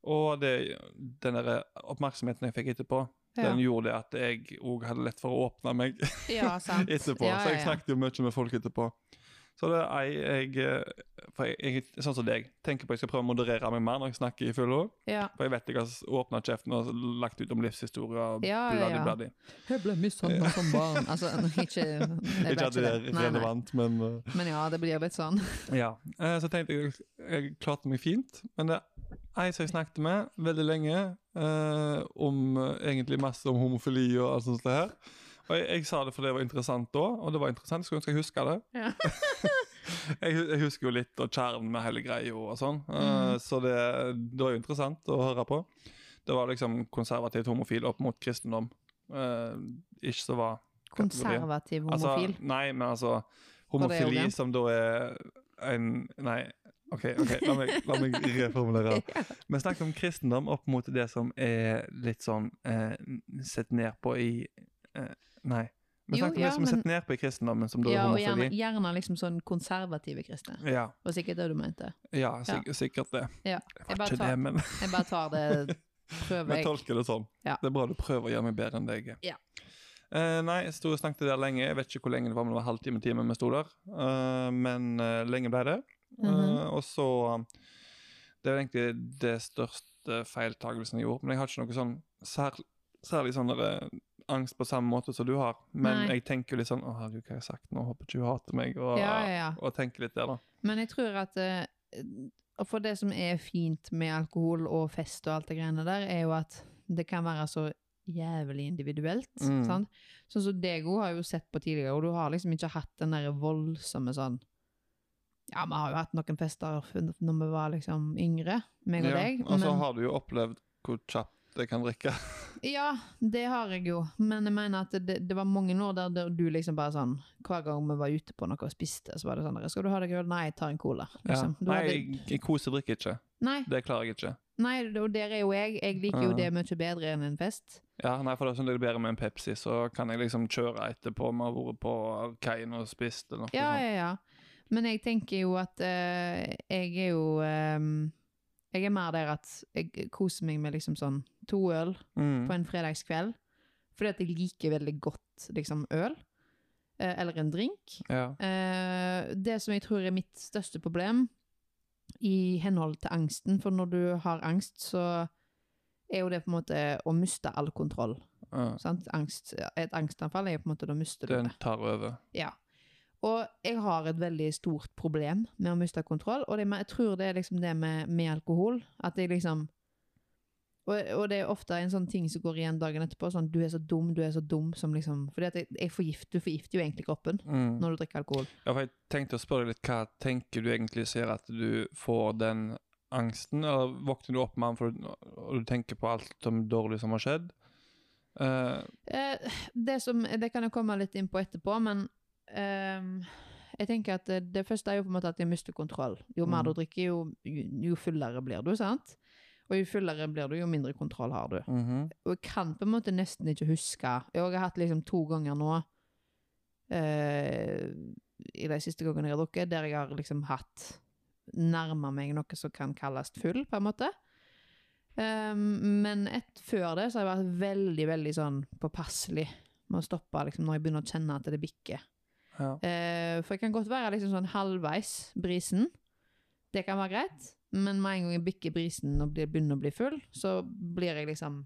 Speaker 1: Og det, den der oppmerksomheten jeg fikk etterpå,
Speaker 2: ja.
Speaker 1: den gjorde det at jeg òg hadde lett for å åpne meg
Speaker 2: ja, sant.
Speaker 1: etterpå.
Speaker 2: Ja,
Speaker 1: Så jeg
Speaker 2: ja, ja.
Speaker 1: snakket jo mye med folk etterpå. Så det er jeg, jeg For jeg, jeg sånn som deg, tenker på at jeg skal prøve å moderere meg mer når jeg snakker i full år.
Speaker 2: Ja.
Speaker 1: For jeg vet jeg har åpna kjeften og lagt ut om livshistorie og
Speaker 2: Ja, ja, ja.
Speaker 1: bladdi-bladdi.
Speaker 2: Jeg ble mishandla som barn. Altså, ikke jeg vet
Speaker 1: Ikke at det er
Speaker 2: Nei, nei.
Speaker 1: relevant, men uh,
Speaker 2: Men ja, det blir litt sånn.
Speaker 1: Ja. Eh, Så tenkte jeg jeg klarte meg fint, men det er ei som jeg snakket med veldig lenge, eh, om eh, egentlig masse om homofili og alt sånt der. Og jeg, jeg sa det fordi det var interessant da, og det var interessant, skulle ønske jeg huska det.
Speaker 2: Ja.
Speaker 1: jeg, hu- jeg husker jo litt og kjernen med hele greia og sånn, eh, så det, det var jo interessant å høre på. Det var liksom konservativt homofil opp mot kristendom. eh, ikke så var kategorien.
Speaker 2: Konservativ homofil.
Speaker 1: Altså, nei, men altså
Speaker 2: Var det
Speaker 1: Homofili
Speaker 2: Eugen?
Speaker 1: som da er en Nei, OK, ok, la meg, la meg reformulere.
Speaker 2: Altså,
Speaker 1: Vi snakket om kristendom opp mot det som er litt sånn eh, sett ned på i eh, Nei. Vi
Speaker 2: Jo,
Speaker 1: snakket om
Speaker 2: ja,
Speaker 1: det som er
Speaker 2: men-
Speaker 1: sett ned på i kristendommen, som da er
Speaker 2: ja, og gjerne,
Speaker 1: homofili.
Speaker 2: gjerne liksom sånn konservative kristne.
Speaker 1: Ja,
Speaker 2: Og sikkert det du mente.
Speaker 1: ja, sik sikkert det.
Speaker 2: Ja.
Speaker 1: Det
Speaker 2: Jeg,
Speaker 1: var
Speaker 2: bare
Speaker 1: ikke det,
Speaker 2: tar,
Speaker 1: men
Speaker 2: jeg bare tar det Prøver
Speaker 1: vi
Speaker 2: jeg.
Speaker 1: tolker det sånn.
Speaker 2: Ja.
Speaker 1: Det er bra du prøver å gjøre meg bedre enn det jeg er.
Speaker 2: Ja.
Speaker 1: Eh, nei, jeg sto og snakket der lenge. Jeg vet ikke hvor lenge det var, men det var halvtime, time vi sto der. Eh, men eh, lenge ble det.
Speaker 2: Mhm.
Speaker 1: Eh, og så Det er egentlig det største feiltagelsen jeg gjorde. Men jeg har ikke noe sånn sær, særlig sånn der, eh, angst på samme måte som du har. Men
Speaker 2: Nei.
Speaker 1: jeg tenker jo litt sånn Å, herregud, hva har jeg sagt nå? Håper ikke hun hater meg. Og,
Speaker 2: Ja, ja, ja.
Speaker 1: og tenker litt der, da.
Speaker 2: Men jeg tror at eh, For det som er fint med alkohol og fest og alt det greiene der, er jo at det kan være så jævlig individuelt.
Speaker 1: Mm.
Speaker 2: Sant? Sånn som deg òg har jo sett på tidligere, og du har liksom ikke hatt den der voldsomme sånn Ja, vi har jo hatt noen fester f- når vi var liksom yngre, meg og
Speaker 1: Ja,
Speaker 2: deg.
Speaker 1: Og så
Speaker 2: men-
Speaker 1: har du jo opplevd hvor kjapt jeg kan drikke.
Speaker 2: Ja, det har jeg jo. Men jeg mener at det, det var mange år der, der du liksom bare sånn Hver gang vi var ute på noe og spiste, så var det sånn 'Skal du ha deg øl?' Nei, jeg tar en cola.
Speaker 1: Ja.
Speaker 2: Liksom. Du
Speaker 1: Nei,
Speaker 2: hadde-
Speaker 1: jeg, jeg kosedrikker ikke.
Speaker 2: nei,
Speaker 1: Det klarer jeg ikke.
Speaker 2: nei, og der er jo jeg. Jeg liker jo
Speaker 1: Ja.
Speaker 2: det mye bedre enn en fest.
Speaker 1: Ja, nei, for det er sånn det er bedre med en Pepsi, så kan jeg liksom kjøre etterpå. Vi har vært på kaien og spist eller noe
Speaker 2: Ja,
Speaker 1: sånt.
Speaker 2: ja, ja. Men jeg tenker jo at eh, jeg er jo eh, Jeg er mer der at jeg koser meg med liksom sånn to øl på
Speaker 1: Mm.
Speaker 2: en fredagskveld. Fordi at jeg liker veldig godt liksom øl. eh, eller en drink.
Speaker 1: Ja.
Speaker 2: Eh, det som jeg tror er mitt største problem i henhold til angsten, for når du har angst, så er jo det på en måte å miste all kontroll.
Speaker 1: ja.
Speaker 2: Sant? Angst, et angstanfall er jo på en måte da mister du det.
Speaker 1: Den tar over.
Speaker 2: Ja. Og jeg har et veldig stort problem med å miste kontroll, og det, med- jeg tror det er liksom det med, med alkohol, at jeg liksom og, og det er ofte en sånn ting som går igjen dagen etterpå, sånn du er så dum, du er så dum, som liksom Fordi at jeg, jeg forgift, du forgifter jo egentlig kroppen
Speaker 1: Mm.
Speaker 2: når du drikker alkohol.
Speaker 1: Ja, for jeg tenkte å spørre deg litt, hva tenker du egentlig ser at du får den angsten, eller våkner du opp med den for, og du tenker på alt som dårlig som har skjedd? Eh,
Speaker 2: Eh, det, som, det kan jeg komme litt inn på etterpå, men ehm, jeg tenker at det, det første er jo på en måte at jeg mister kontroll. Jo mer
Speaker 1: Mm.
Speaker 2: du drikker, jo, jo, jo fullere blir du, sant? Og jo fullere blir du, jo mindre kontroll har du.
Speaker 1: mhm.
Speaker 2: Og jeg kan på en måte nesten ikke huske Jeg har hatt liksom to ganger nå eh, i de siste gangene jeg har drukket, der jeg har liksom hatt nærma meg noe som kan kalles full, på en måte. Um, men et, før det så har jeg vært veldig, veldig sånn påpasselig med å stoppe liksom, når jeg begynner å kjenne at det bikker.
Speaker 1: ja.
Speaker 2: Eh, for jeg kan godt være liksom sånn halvveis brisen. Det kan være greit. Men med en gang jeg bikker brisen og blir, begynner å bli full, så blir jeg liksom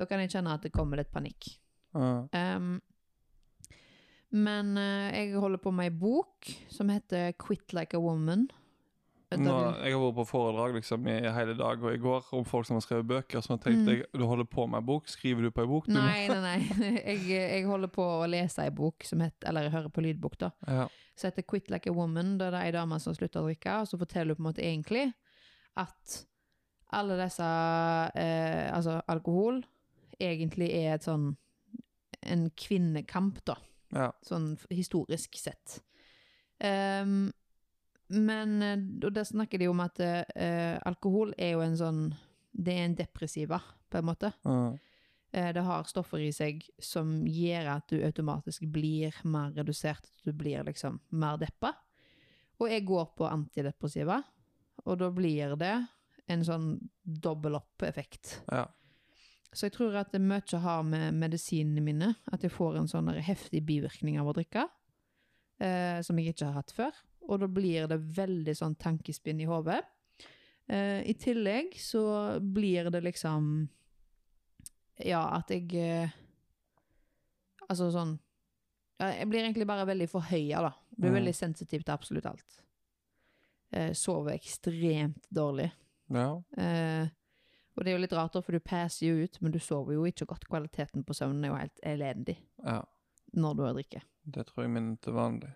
Speaker 2: Da kan jeg kjenne at det kommer litt panikk.
Speaker 1: ja.
Speaker 2: Ehm, men eh, jeg holder på med ei bok som heter 'Quit like a woman'. Vet
Speaker 1: Nå,
Speaker 2: du-
Speaker 1: jeg har vært på foredrag liksom, i hele dag og i går om folk som har skrevet bøker. Så jeg tenkte jeg, du holder på med en bok, skriver du på en bok? Du må-
Speaker 2: Mm. Nei, nei, nei. Jeg, jeg holder på å lese ei bok som heter Eller jeg hører på lydbok, da.
Speaker 1: Ja.
Speaker 2: som heter Quit Like a Woman, der det er ei dame som slutter å drikke, og så forteller hun på en måte egentlig at alle disse eh, Altså, alkohol egentlig er et sånn en kvinnekamp, da.
Speaker 1: Ja.
Speaker 2: Sånn f- historisk sett. Ehm, men eh, Og der snakker de om at eh, alkohol er jo en sånn Det er en depressiva, på en måte.
Speaker 1: ja.
Speaker 2: Eh, Det har stoffer i seg som gjør at du automatisk blir mer redusert, at du blir liksom mer deppa. Og jeg går på antidepressiva, og da blir det en sånn dobbel opp-effekt.
Speaker 1: Ja.
Speaker 2: Så jeg tror at det mye har med medisinene mine, at jeg får en sånn der heftig bivirkning av å drikke, eh, som jeg ikke har hatt før. Og da blir det veldig sånn tankespinn i hodet. Eh, I tillegg så blir det liksom Ja, at jeg eh, Altså sånn ja, Jeg blir egentlig bare veldig forhøya, da. Blir
Speaker 1: Mm.
Speaker 2: veldig sensitiv til absolutt alt. Eh, sover ekstremt dårlig.
Speaker 1: ja.
Speaker 2: Eh, og det er jo litt rart, da, for du passer jo ut, men du sover jo ikke godt. Kvaliteten på søvnen er jo helt elendig
Speaker 1: ja.
Speaker 2: når du har drikket.
Speaker 1: Det tror jeg min er til vanlig.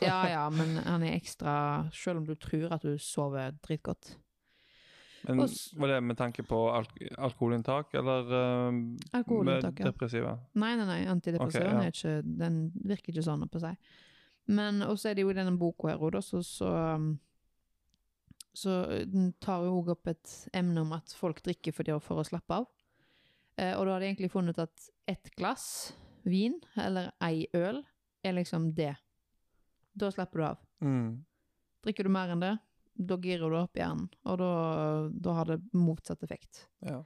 Speaker 2: Ja, ja, men han er ekstra Selv om du tror at du sover dritgodt.
Speaker 1: Men
Speaker 2: Og s-
Speaker 1: var det med tanke på alk alkoholinntak, eller eh,
Speaker 2: Alkoholinntak,
Speaker 1: med
Speaker 2: ja.
Speaker 1: depressiva?
Speaker 2: Nei, nei, nei, antidepressiva
Speaker 1: Ok, ja.
Speaker 2: er ikke, den virker ikke sånn på seg. Men også er det jo i denne boka her, Oda, så, så um, så den tar jo også opp et emne om at folk drikker for, de, for å slappe av. Eh, og da har de egentlig funnet ut at ett glass vin, eller ei øl, er liksom det. Da slapper du av.
Speaker 1: Mm.
Speaker 2: Drikker du mer enn det, da girer du opp hjernen, og da, da har det motsatt effekt.
Speaker 1: Ja.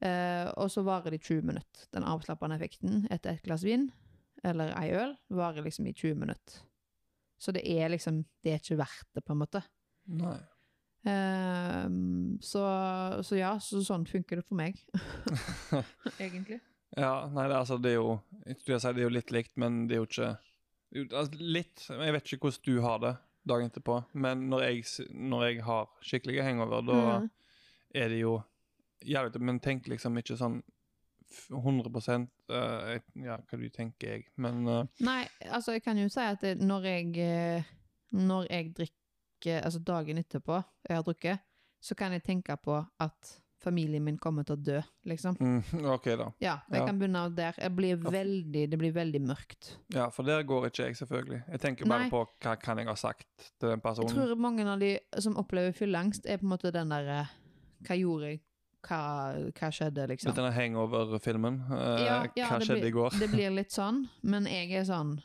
Speaker 2: Eh, og så varer det i 20 minutter. Den avslappende effekten etter et glass vin eller ei øl varer liksom i 20 minutter. Så det er liksom Det er ikke verdt det, på en måte.
Speaker 1: Nei.
Speaker 2: Eh, så, så ja, så sånn funker det for meg. Egentlig.
Speaker 1: Ja, nei, det, er altså, det er jo jeg skulle si, Det er jo litt likt, men det er jo ikke jo, altså, Litt. men Jeg vet ikke hvordan du har det dagen etterpå, men når jeg, s- når jeg har skikkelige hangover, da
Speaker 2: Mm.
Speaker 1: er det jo jævlig dumt, Men tenk liksom ikke sånn f- 100 eh, jeg- Ja, hva du tenker jeg, men eh,
Speaker 2: Nei, altså jeg kan jo si at det, når jeg eh, når jeg drikker, altså dagen etterpå jeg har drukket, så kan jeg tenke på at familien min kommer til å dø, liksom.
Speaker 1: Mm, ok, da.
Speaker 2: Ja, jeg
Speaker 1: Ja.
Speaker 2: kan begynne der. Jeg blir
Speaker 1: Ja.
Speaker 2: veldig, det blir veldig mørkt.
Speaker 1: Ja, for der går ikke jeg, selvfølgelig. Jeg tenker bare
Speaker 2: Nei.
Speaker 1: på hva kan jeg ha sagt til den
Speaker 2: Jeg
Speaker 1: personen.
Speaker 2: tror mange av de som opplever fylleangst, er på en måte den derre Hva gjorde jeg? Hva, hva skjedde, liksom?
Speaker 1: Litt denne hangover-filmen. Eh,
Speaker 2: Ja, ja,
Speaker 1: hva
Speaker 2: det
Speaker 1: skjedde
Speaker 2: blir-
Speaker 1: i går?
Speaker 2: Det blir litt sånn, men jeg er sånn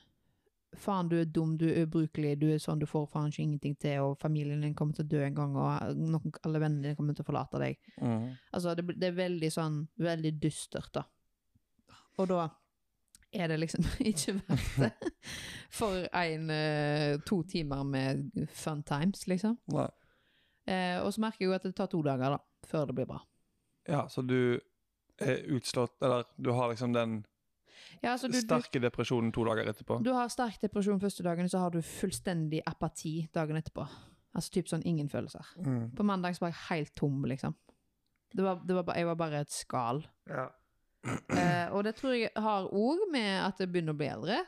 Speaker 2: Faen, du er dum, du er ubrukelig, du er sånn, du får faen ikke ingenting til, og familien din kommer til å dø en gang, og eh, noen, alle vennene dine kommer til å forlate deg.
Speaker 1: Mm.
Speaker 2: Altså, det, blir- det er veldig sånn Veldig dystert, da. Og da er det liksom ikke verdt det for en eh, to timer med fun times, liksom.
Speaker 1: Nei.
Speaker 2: Eh, og så merker jeg jo at det tar to dager, da, før det blir bra.
Speaker 1: Ja, så du er utslått Eller du har liksom den
Speaker 2: Ja, altså, du, du
Speaker 1: sterke depresjonen to dager etterpå.
Speaker 2: Du har sterk depresjon første dagen, så har du fullstendig apati dagen etterpå. Altså typ sånn ingen følelser.
Speaker 1: Mm.
Speaker 2: På mandag så var jeg helt tom, liksom. Det var, det var, ba- jeg var bare et skall.
Speaker 1: Ja.
Speaker 2: Eh, og det tror jeg har òg med at det begynner å bli eldre.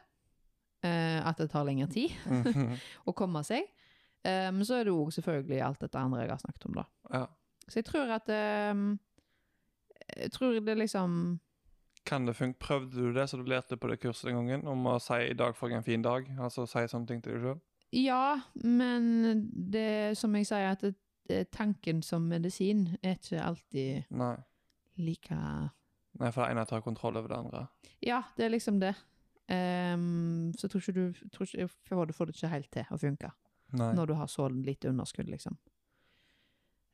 Speaker 2: Eh, at det tar lengre tid
Speaker 1: Mhm.
Speaker 2: å komme seg. Eh, men så er det òg selvfølgelig alt dette andre jeg har snakket om, da.
Speaker 1: ja.
Speaker 2: Så jeg tror at eh, Jeg tror det liksom
Speaker 1: Kan det funke? Prøvde du det, så du lærte på det kurset den gangen, om å si 'i dag får jeg en fin dag'? Altså si sånne ting til deg sjøl?
Speaker 2: Ja, men det som jeg sier, at det, det, tanken som medisin er ikke alltid
Speaker 1: Nei.
Speaker 2: like
Speaker 1: Nei, for det ene tar kontroll over det andre.
Speaker 2: Ja, det er liksom det. Ehm, så tror ikke du tror ikke, for Du får det ikke helt til å funke
Speaker 1: Nei.
Speaker 2: når du har så lite underskudd, liksom.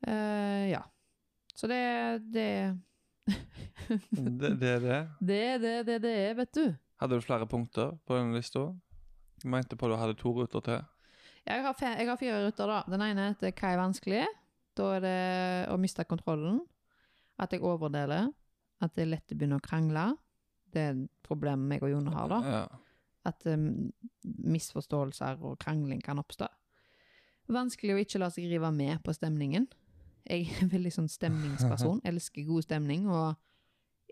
Speaker 2: Eh, ja. Så det det
Speaker 1: Det, det er det.
Speaker 2: Det er det det, det er, vet du.
Speaker 1: Hadde du flere punkter på den lista? Du mente på du hadde to ruter til.
Speaker 2: Jeg har, fe- jeg har fire ruter, da. Den ene heter 'Hva er vanskelig?' Da er det å miste kontrollen. At jeg overdeler. At det er lett å begynne å krangle. Det er et problem jeg og Jone har, da.
Speaker 1: Ja.
Speaker 2: At um, misforståelser og krangling kan oppstå. Vanskelig å ikke la seg rive med på stemningen. Jeg er en veldig sånn stemningsperson. Elsker god stemning, og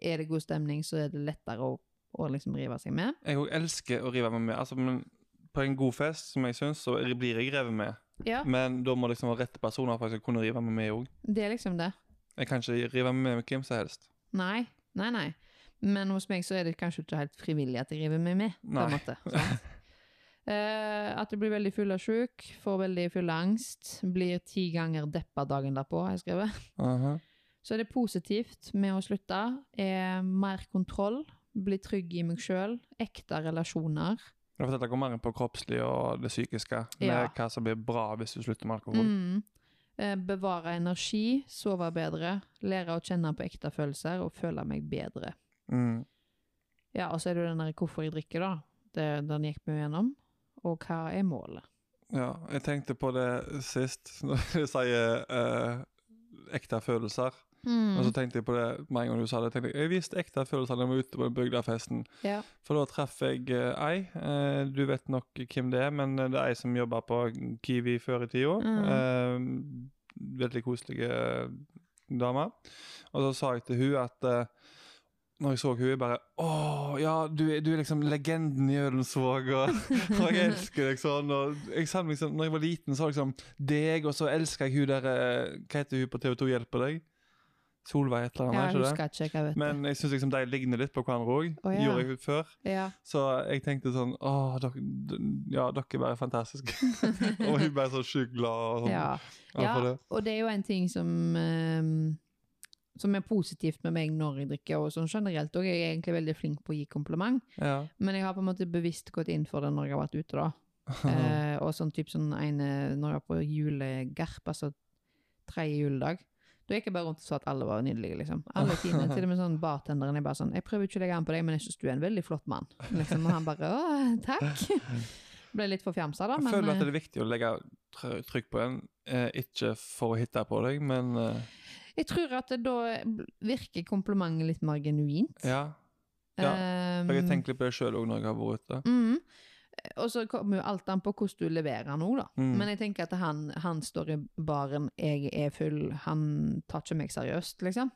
Speaker 2: er det god stemning, så er det lettere å, å liksom rive seg med.
Speaker 1: Jeg òg elsker å rive meg med. Altså, men på en god fest, som jeg syns, så blir jeg revet med.
Speaker 2: Ja,
Speaker 1: Men da må det liksom være rette personer for at jeg skal kunne rive meg med òg.
Speaker 2: det er liksom det.
Speaker 1: Jeg kan ikke rive meg med hvem som helst.
Speaker 2: Nei, nei, nei. Men hos meg så er det kanskje ikke helt frivillig at jeg river meg med. på en
Speaker 1: Nei.
Speaker 2: måte. sant? Eh, at du blir veldig full av sjuk, får veldig full av angst, blir ti ganger deppa dagen derpå, har jeg skrevet.
Speaker 1: Aha.
Speaker 2: Så det positivt med å slutte er mer kontroll, bli trygg i meg sjøl, ekte relasjoner.
Speaker 1: Ja, for Dette går mer inn på kroppslig og det psykiske. Med
Speaker 2: Ja.
Speaker 1: Hva som blir bra hvis du slutter med alkohol.
Speaker 2: Mm. Eh, bevare energi, sove bedre, lære å kjenne på ekte følelser og føle meg bedre.
Speaker 1: Mm.
Speaker 2: Ja, og så er det jo den der hvorfor jeg drikker, da. Det, den gikk vi jo gjennom. Og hva er målet?
Speaker 1: Ja, jeg tenkte på det sist, når du sier eh, ekte følelser. Og
Speaker 2: Mm.
Speaker 1: så tenkte jeg på det med en gang du sa det. tenkte Jeg jeg visste ekte følelser da jeg var ute på den bygdafesten.
Speaker 2: Ja.
Speaker 1: For da traff jeg eh, ei. eh, du vet nok hvem det er, men eh, det er ei som jobba på Kiwi før i tida. Eh, veldig koselige dame. Og så sa jeg til hun at eh, når jeg så hun, jeg bare Å, ja, du, er- du er liksom legenden i Ødensvåg, og, og jeg elsker deg sånn. Og jeg sa liksom, når jeg var liten, så var det liksom deg, og så elsker jeg hun der eh, Hva heter hun på TV2 Hjelper deg? Solveig et eller
Speaker 2: Ja,
Speaker 1: annet? er
Speaker 2: jeg
Speaker 1: ikke det?
Speaker 2: husker ikke, jeg vet
Speaker 1: Men jeg syns liksom de ligner litt på hverandre òg.
Speaker 2: Å, ja.
Speaker 1: Gjorde jeg før.
Speaker 2: det. Ja.
Speaker 1: Så jeg tenkte sånn Åh, dere, d- ja, dere er bare fantastiske. og hun ble så sjukt glad og sånn.
Speaker 2: Ja.
Speaker 1: Ja, for
Speaker 2: ja,
Speaker 1: det.
Speaker 2: og det er jo en ting som ehm, som er positivt med meg når jeg drikker, og sånn generelt òg. Jeg er egentlig veldig flink på å gi kompliment,
Speaker 1: Ja.
Speaker 2: men jeg har på en måte bevisst gått inn for det når jeg har vært ute, da. Eh, og sånn typ sånn ene Når jeg var på julegarp, altså tredje juledag, da gikk jeg bare rundt og sa at alle var nydelige, liksom. Alle fine. Til og med sånn bartenderen er bare sånn 'Jeg prøver ikke å legge an på deg, men jeg syns du er en veldig flott mann'. Liksom, og han bare 'Å, takk'. Ble litt forfjamsa, da,
Speaker 1: jeg
Speaker 2: men
Speaker 1: føler
Speaker 2: eh,
Speaker 1: at det er viktig å legge tr- trykk på en, eh, ikke for å hitte på deg, men eh,
Speaker 2: Jeg tror at det da virker komplimentet litt mer genuint.
Speaker 1: ja. ja. For jeg har
Speaker 2: Ehm,
Speaker 1: tenkt litt på det sjøl òg når jeg har vært ute.
Speaker 2: mm. Og så kommer jo alt an på hvordan du leverer nå, da.
Speaker 1: Mm.
Speaker 2: Men jeg tenker at han, han står i baren, jeg er full, han tar ikke meg seriøst, liksom.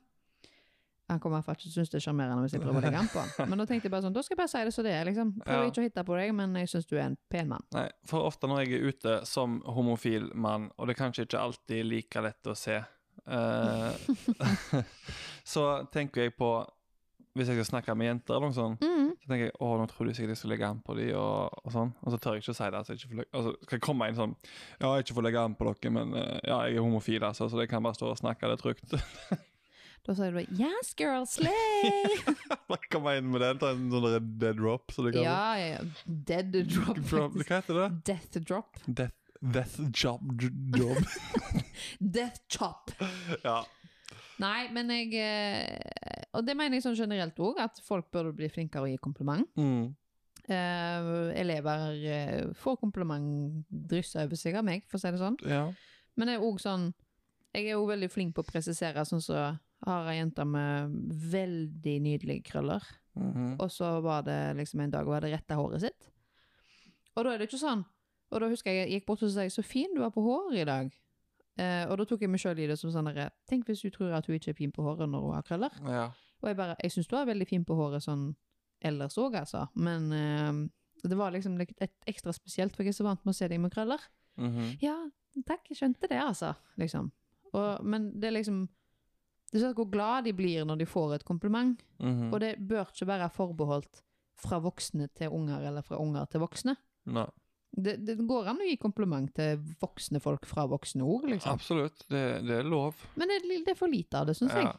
Speaker 2: Han kommer i hvert fall ikke til å synes det er sjarmerende hvis jeg prøver å legge an på han. Men da tenkte jeg bare sånn, da skal jeg bare si det som det er, liksom. Prøver
Speaker 1: Ja.
Speaker 2: ikke å hitte på deg, men jeg syns du er en pen mann.
Speaker 1: Nei, for ofte når jeg er ute som homofil mann, og det er kanskje ikke alltid like lett å se, eh, så tenker jeg på Hvis jeg skal snakke med jenter, eller noe sånt,
Speaker 2: Mm.
Speaker 1: så tenker jeg å, nå tror de sikkert jeg skal legge an på de, og, og sånn. Og så tør jeg ikke å si det. Altså, jeg ikke får, legge- altså, skal jeg komme inn sånn Ja, jeg ikke får legge an på dere, men eh, ja, jeg er homofil, altså, så jeg kan bare stå og snakke det trygt.
Speaker 2: Da sier du bare 'yes, girl, slay'!
Speaker 1: bare komme inn med den, ta en sånn der dead drop. Så det kan,
Speaker 2: ja, ja, ja. Dead drop,
Speaker 1: Drop- liksom.
Speaker 2: faktisk.
Speaker 1: Hva heter det?
Speaker 2: Death drop.
Speaker 1: Death, death job dr- job.
Speaker 2: Death chop.
Speaker 1: ja.
Speaker 2: Nei, men jeg eh, Og det mener jeg sånn generelt òg, at folk burde bli flinkere å gi kompliment.
Speaker 1: Mm.
Speaker 2: Eh, elever eh, får kompliment dryssa over seg av meg, for å si det sånn.
Speaker 1: ja.
Speaker 2: Men det er òg sånn Jeg er òg veldig flink på å presisere, sånn som så har ei jente med veldig nydelige krøller.
Speaker 1: Mhm.
Speaker 2: Og så var det liksom en dag hun hadde retta håret sitt. Og da er det ikke sånn. Og da husker jeg jeg gikk bort og sa 'så fin du var på håret i dag'. Eh, og da tok jeg meg sjøl i det som sånn derre Tenk hvis du tror at hun ikke er fin på håret når hun har krøller.
Speaker 1: ja.
Speaker 2: Og jeg bare Jeg syns du er veldig fin på håret sånn ellers òg, altså. Men eh, det var liksom litt et ekstra spesielt, for jeg er så vant med å se deg med krøller.
Speaker 1: Mhm.
Speaker 2: Ja, takk, jeg skjønte det, altså. Liksom. Og, men det er liksom Du ser hvor glad de blir når de får et kompliment.
Speaker 1: Mhm.
Speaker 2: Og det bør ikke være forbeholdt fra voksne til unger, eller fra unger til voksne.
Speaker 1: Nei,
Speaker 2: Det, det går an å gi kompliment til voksne folk fra voksne ord, liksom.
Speaker 1: absolutt. Det, det er lov.
Speaker 2: Men det, er li- det er for lite av det, syns jeg.
Speaker 1: Ja.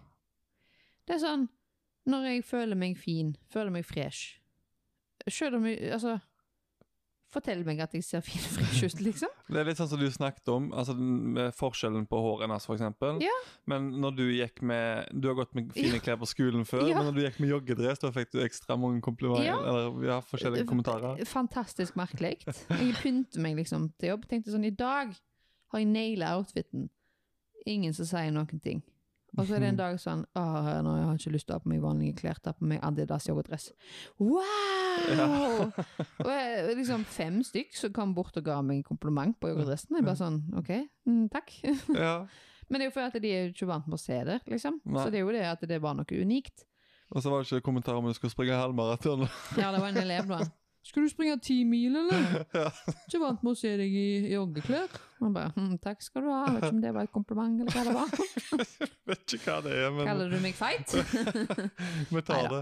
Speaker 2: Det er sånn Når jeg føler meg fin, føler meg fresh Selv om jeg Altså Fortell meg at jeg ser fin og fresh ut, liksom.
Speaker 1: Det er litt sånn som du snakket om, altså den- med forskjellen på håret hennes, for eksempel.
Speaker 2: Ja.
Speaker 1: Men når du gikk med Du har gått med fine klær på skolen før,
Speaker 2: Ja.
Speaker 1: men når du gikk med joggedress, da fikk du ekstra mange komplimenter,
Speaker 2: Ja.
Speaker 1: eller ja, forskjellige kommentarer.
Speaker 2: Fantastisk merkelig. Jeg pynter meg liksom til jobb. Tenkte sånn, i dag har jeg naila outfiten. Ingen som sier noen ting. Og så er det en dag sånn Åh, nå har jeg ikke lyst til å ha på meg vanlige klær. Ta på meg Adidas joggedress. Wow! og jeg, liksom fem stykk som kom bort og ga meg en kompliment på joggedressen. Jeg bare sånn OK, mm, takk.
Speaker 1: Ja.
Speaker 2: Men det er jo fordi at de er jo ikke vant med å se det, liksom.
Speaker 1: Nei.
Speaker 2: Så det er jo det at det var noe unikt.
Speaker 1: Og så var det ikke kommentarer om du skulle springe halvmaraton.
Speaker 2: Ja, det var en elev da. Skulle du springe ti mil, eller?
Speaker 1: Ja.
Speaker 2: Ikke vant med å se deg i joggeklær. Han bare, hm, takk skal du ha. Jeg vet ikke om det var et kompliment, eller hva det var.
Speaker 1: Vet ikke hva det er, men
Speaker 2: Kaller du meg feit?
Speaker 1: vi tar det.
Speaker 2: Neida.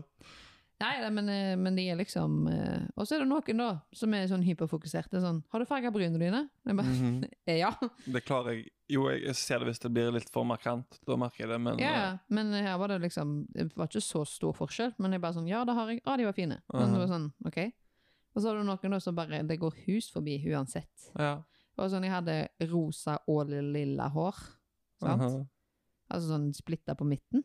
Speaker 2: Nei, nei, men, eh, men de er liksom... eh, Og så er det noen da, som er sånn hyperfokuserte, sånn, har du farget brynene dine? Jeg bare,
Speaker 1: Mhm.
Speaker 2: «Eh, ja.
Speaker 1: Det klarer jeg. Jo, jeg ser det hvis det blir litt for markant. Da merker jeg det, men eh,
Speaker 2: Ja, ja. Men her var det liksom Det var ikke så stor forskjell, men jeg bare sånn Ja, det har jeg. Ja, de var fine. Men det var sånn, OK. Og så har du noen da som bare Det går hus forbi uansett.
Speaker 1: eh, ja.
Speaker 2: Og sånn, jeg hadde rosa og lilla hår. Sant?
Speaker 1: Mhm.
Speaker 2: Altså sånn splitta på midten.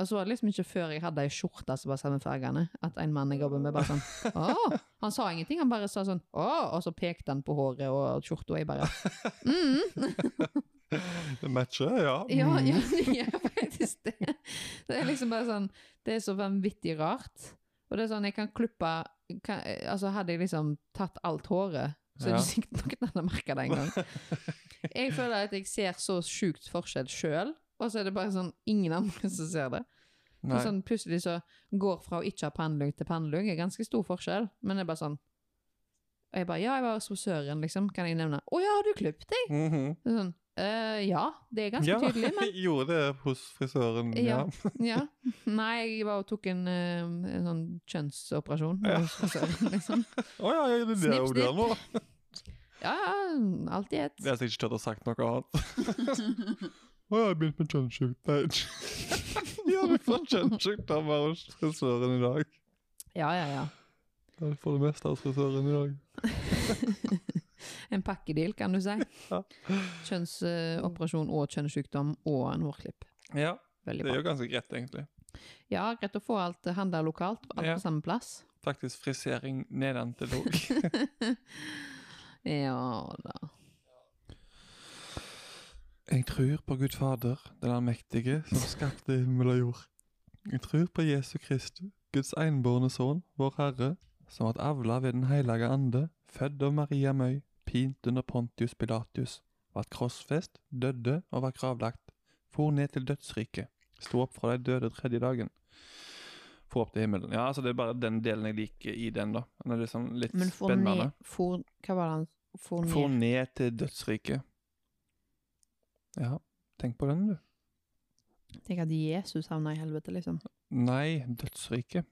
Speaker 2: Og så var det liksom ikke før jeg hadde ei skjorte som var samme fargene, at en mann jeg jobber med, bare sånn Å! Han sa ingenting, han bare sa sånn Å! Og så pekte han på håret og skjorta, og jeg bare mm,
Speaker 1: Det matcher, ja.
Speaker 2: Ja,
Speaker 1: Mhm.
Speaker 2: ja, det gjør faktisk det. Det er liksom bare sånn Det er så vanvittig rart. Og det er sånn, jeg kan klippe kan, Altså, hadde jeg liksom tatt alt håret, så er
Speaker 1: Ja.
Speaker 2: det sikkert noen hadde merka det en gang. Jeg føler at jeg ser så sjukt forskjell sjøl, og så er det bare sånn ingen andre som ser det. Og
Speaker 1: Nei.
Speaker 2: Sånn, plutselig så går fra å ikke ha pannelugg til pannelugg, er ganske stor forskjell, men det er bare sånn Og jeg bare Ja, jeg var hos frisøren, liksom, kan jeg nevne. Å ja, har du klippet deg?
Speaker 1: Mhm.
Speaker 2: Det er Sånn, «Eh, ja, det er ganske
Speaker 1: ja,
Speaker 2: tydelig, men
Speaker 1: jeg gjorde det hos frisøren, ja.
Speaker 2: Ja. ja. Nei, jeg var og tok en, eh, en sånn kjønnsoperasjon.
Speaker 1: Ja.
Speaker 2: hos frisøren, liksom.
Speaker 1: Å ja, ja, det er det
Speaker 2: Snipp,
Speaker 1: hun gjør nå.
Speaker 2: Ja, ja, alt i ett.
Speaker 1: Jeg har sikkert ikke tørt å sagt noe annet. Å, jeg har begynt med kjønnssykdom. ja, vi får kjønnssykdommer hos frisøren i dag.
Speaker 2: Ja, ja, ja.
Speaker 1: Ja, Vi får det meste hos frisøren i dag.
Speaker 2: En pakkedeal, kan du si.
Speaker 1: Ja.
Speaker 2: Kjønnsoperasjon og kjønnssykdom og en hårklipp.
Speaker 1: Ja, det
Speaker 2: Veldig bra.
Speaker 1: er jo ganske greit, egentlig.
Speaker 2: Ja, greit å få alt handla lokalt, alt
Speaker 1: Ja.
Speaker 2: på samme plass.
Speaker 1: Faktisk frisering nedentil òg.
Speaker 2: Ja da.
Speaker 1: Jeg tror på Gud Fader, den allmektige, som skapte himmel og jord. Jeg tror på Jesu Kristus, Guds enbårne sønn, vår Herre, som vart avla ved Den hellige ande, født av Maria Møy, pint under Pontius Pilatus, vart krossfest, døde og var gravlagt, for ned til dødsriket, Stå opp fra de døde tredje dagen. Få opp til himmelen. Ja, altså det er bare den delen jeg liker i den, da. Den er liksom litt
Speaker 2: Men for ned
Speaker 1: spennende.
Speaker 2: for, Hva var det han For
Speaker 1: Få
Speaker 2: ned
Speaker 1: ned til dødsriket. Ja, tenk på den, du.
Speaker 2: Tenk at Jesus havna i helvete, liksom.
Speaker 1: Nei, dødsriket.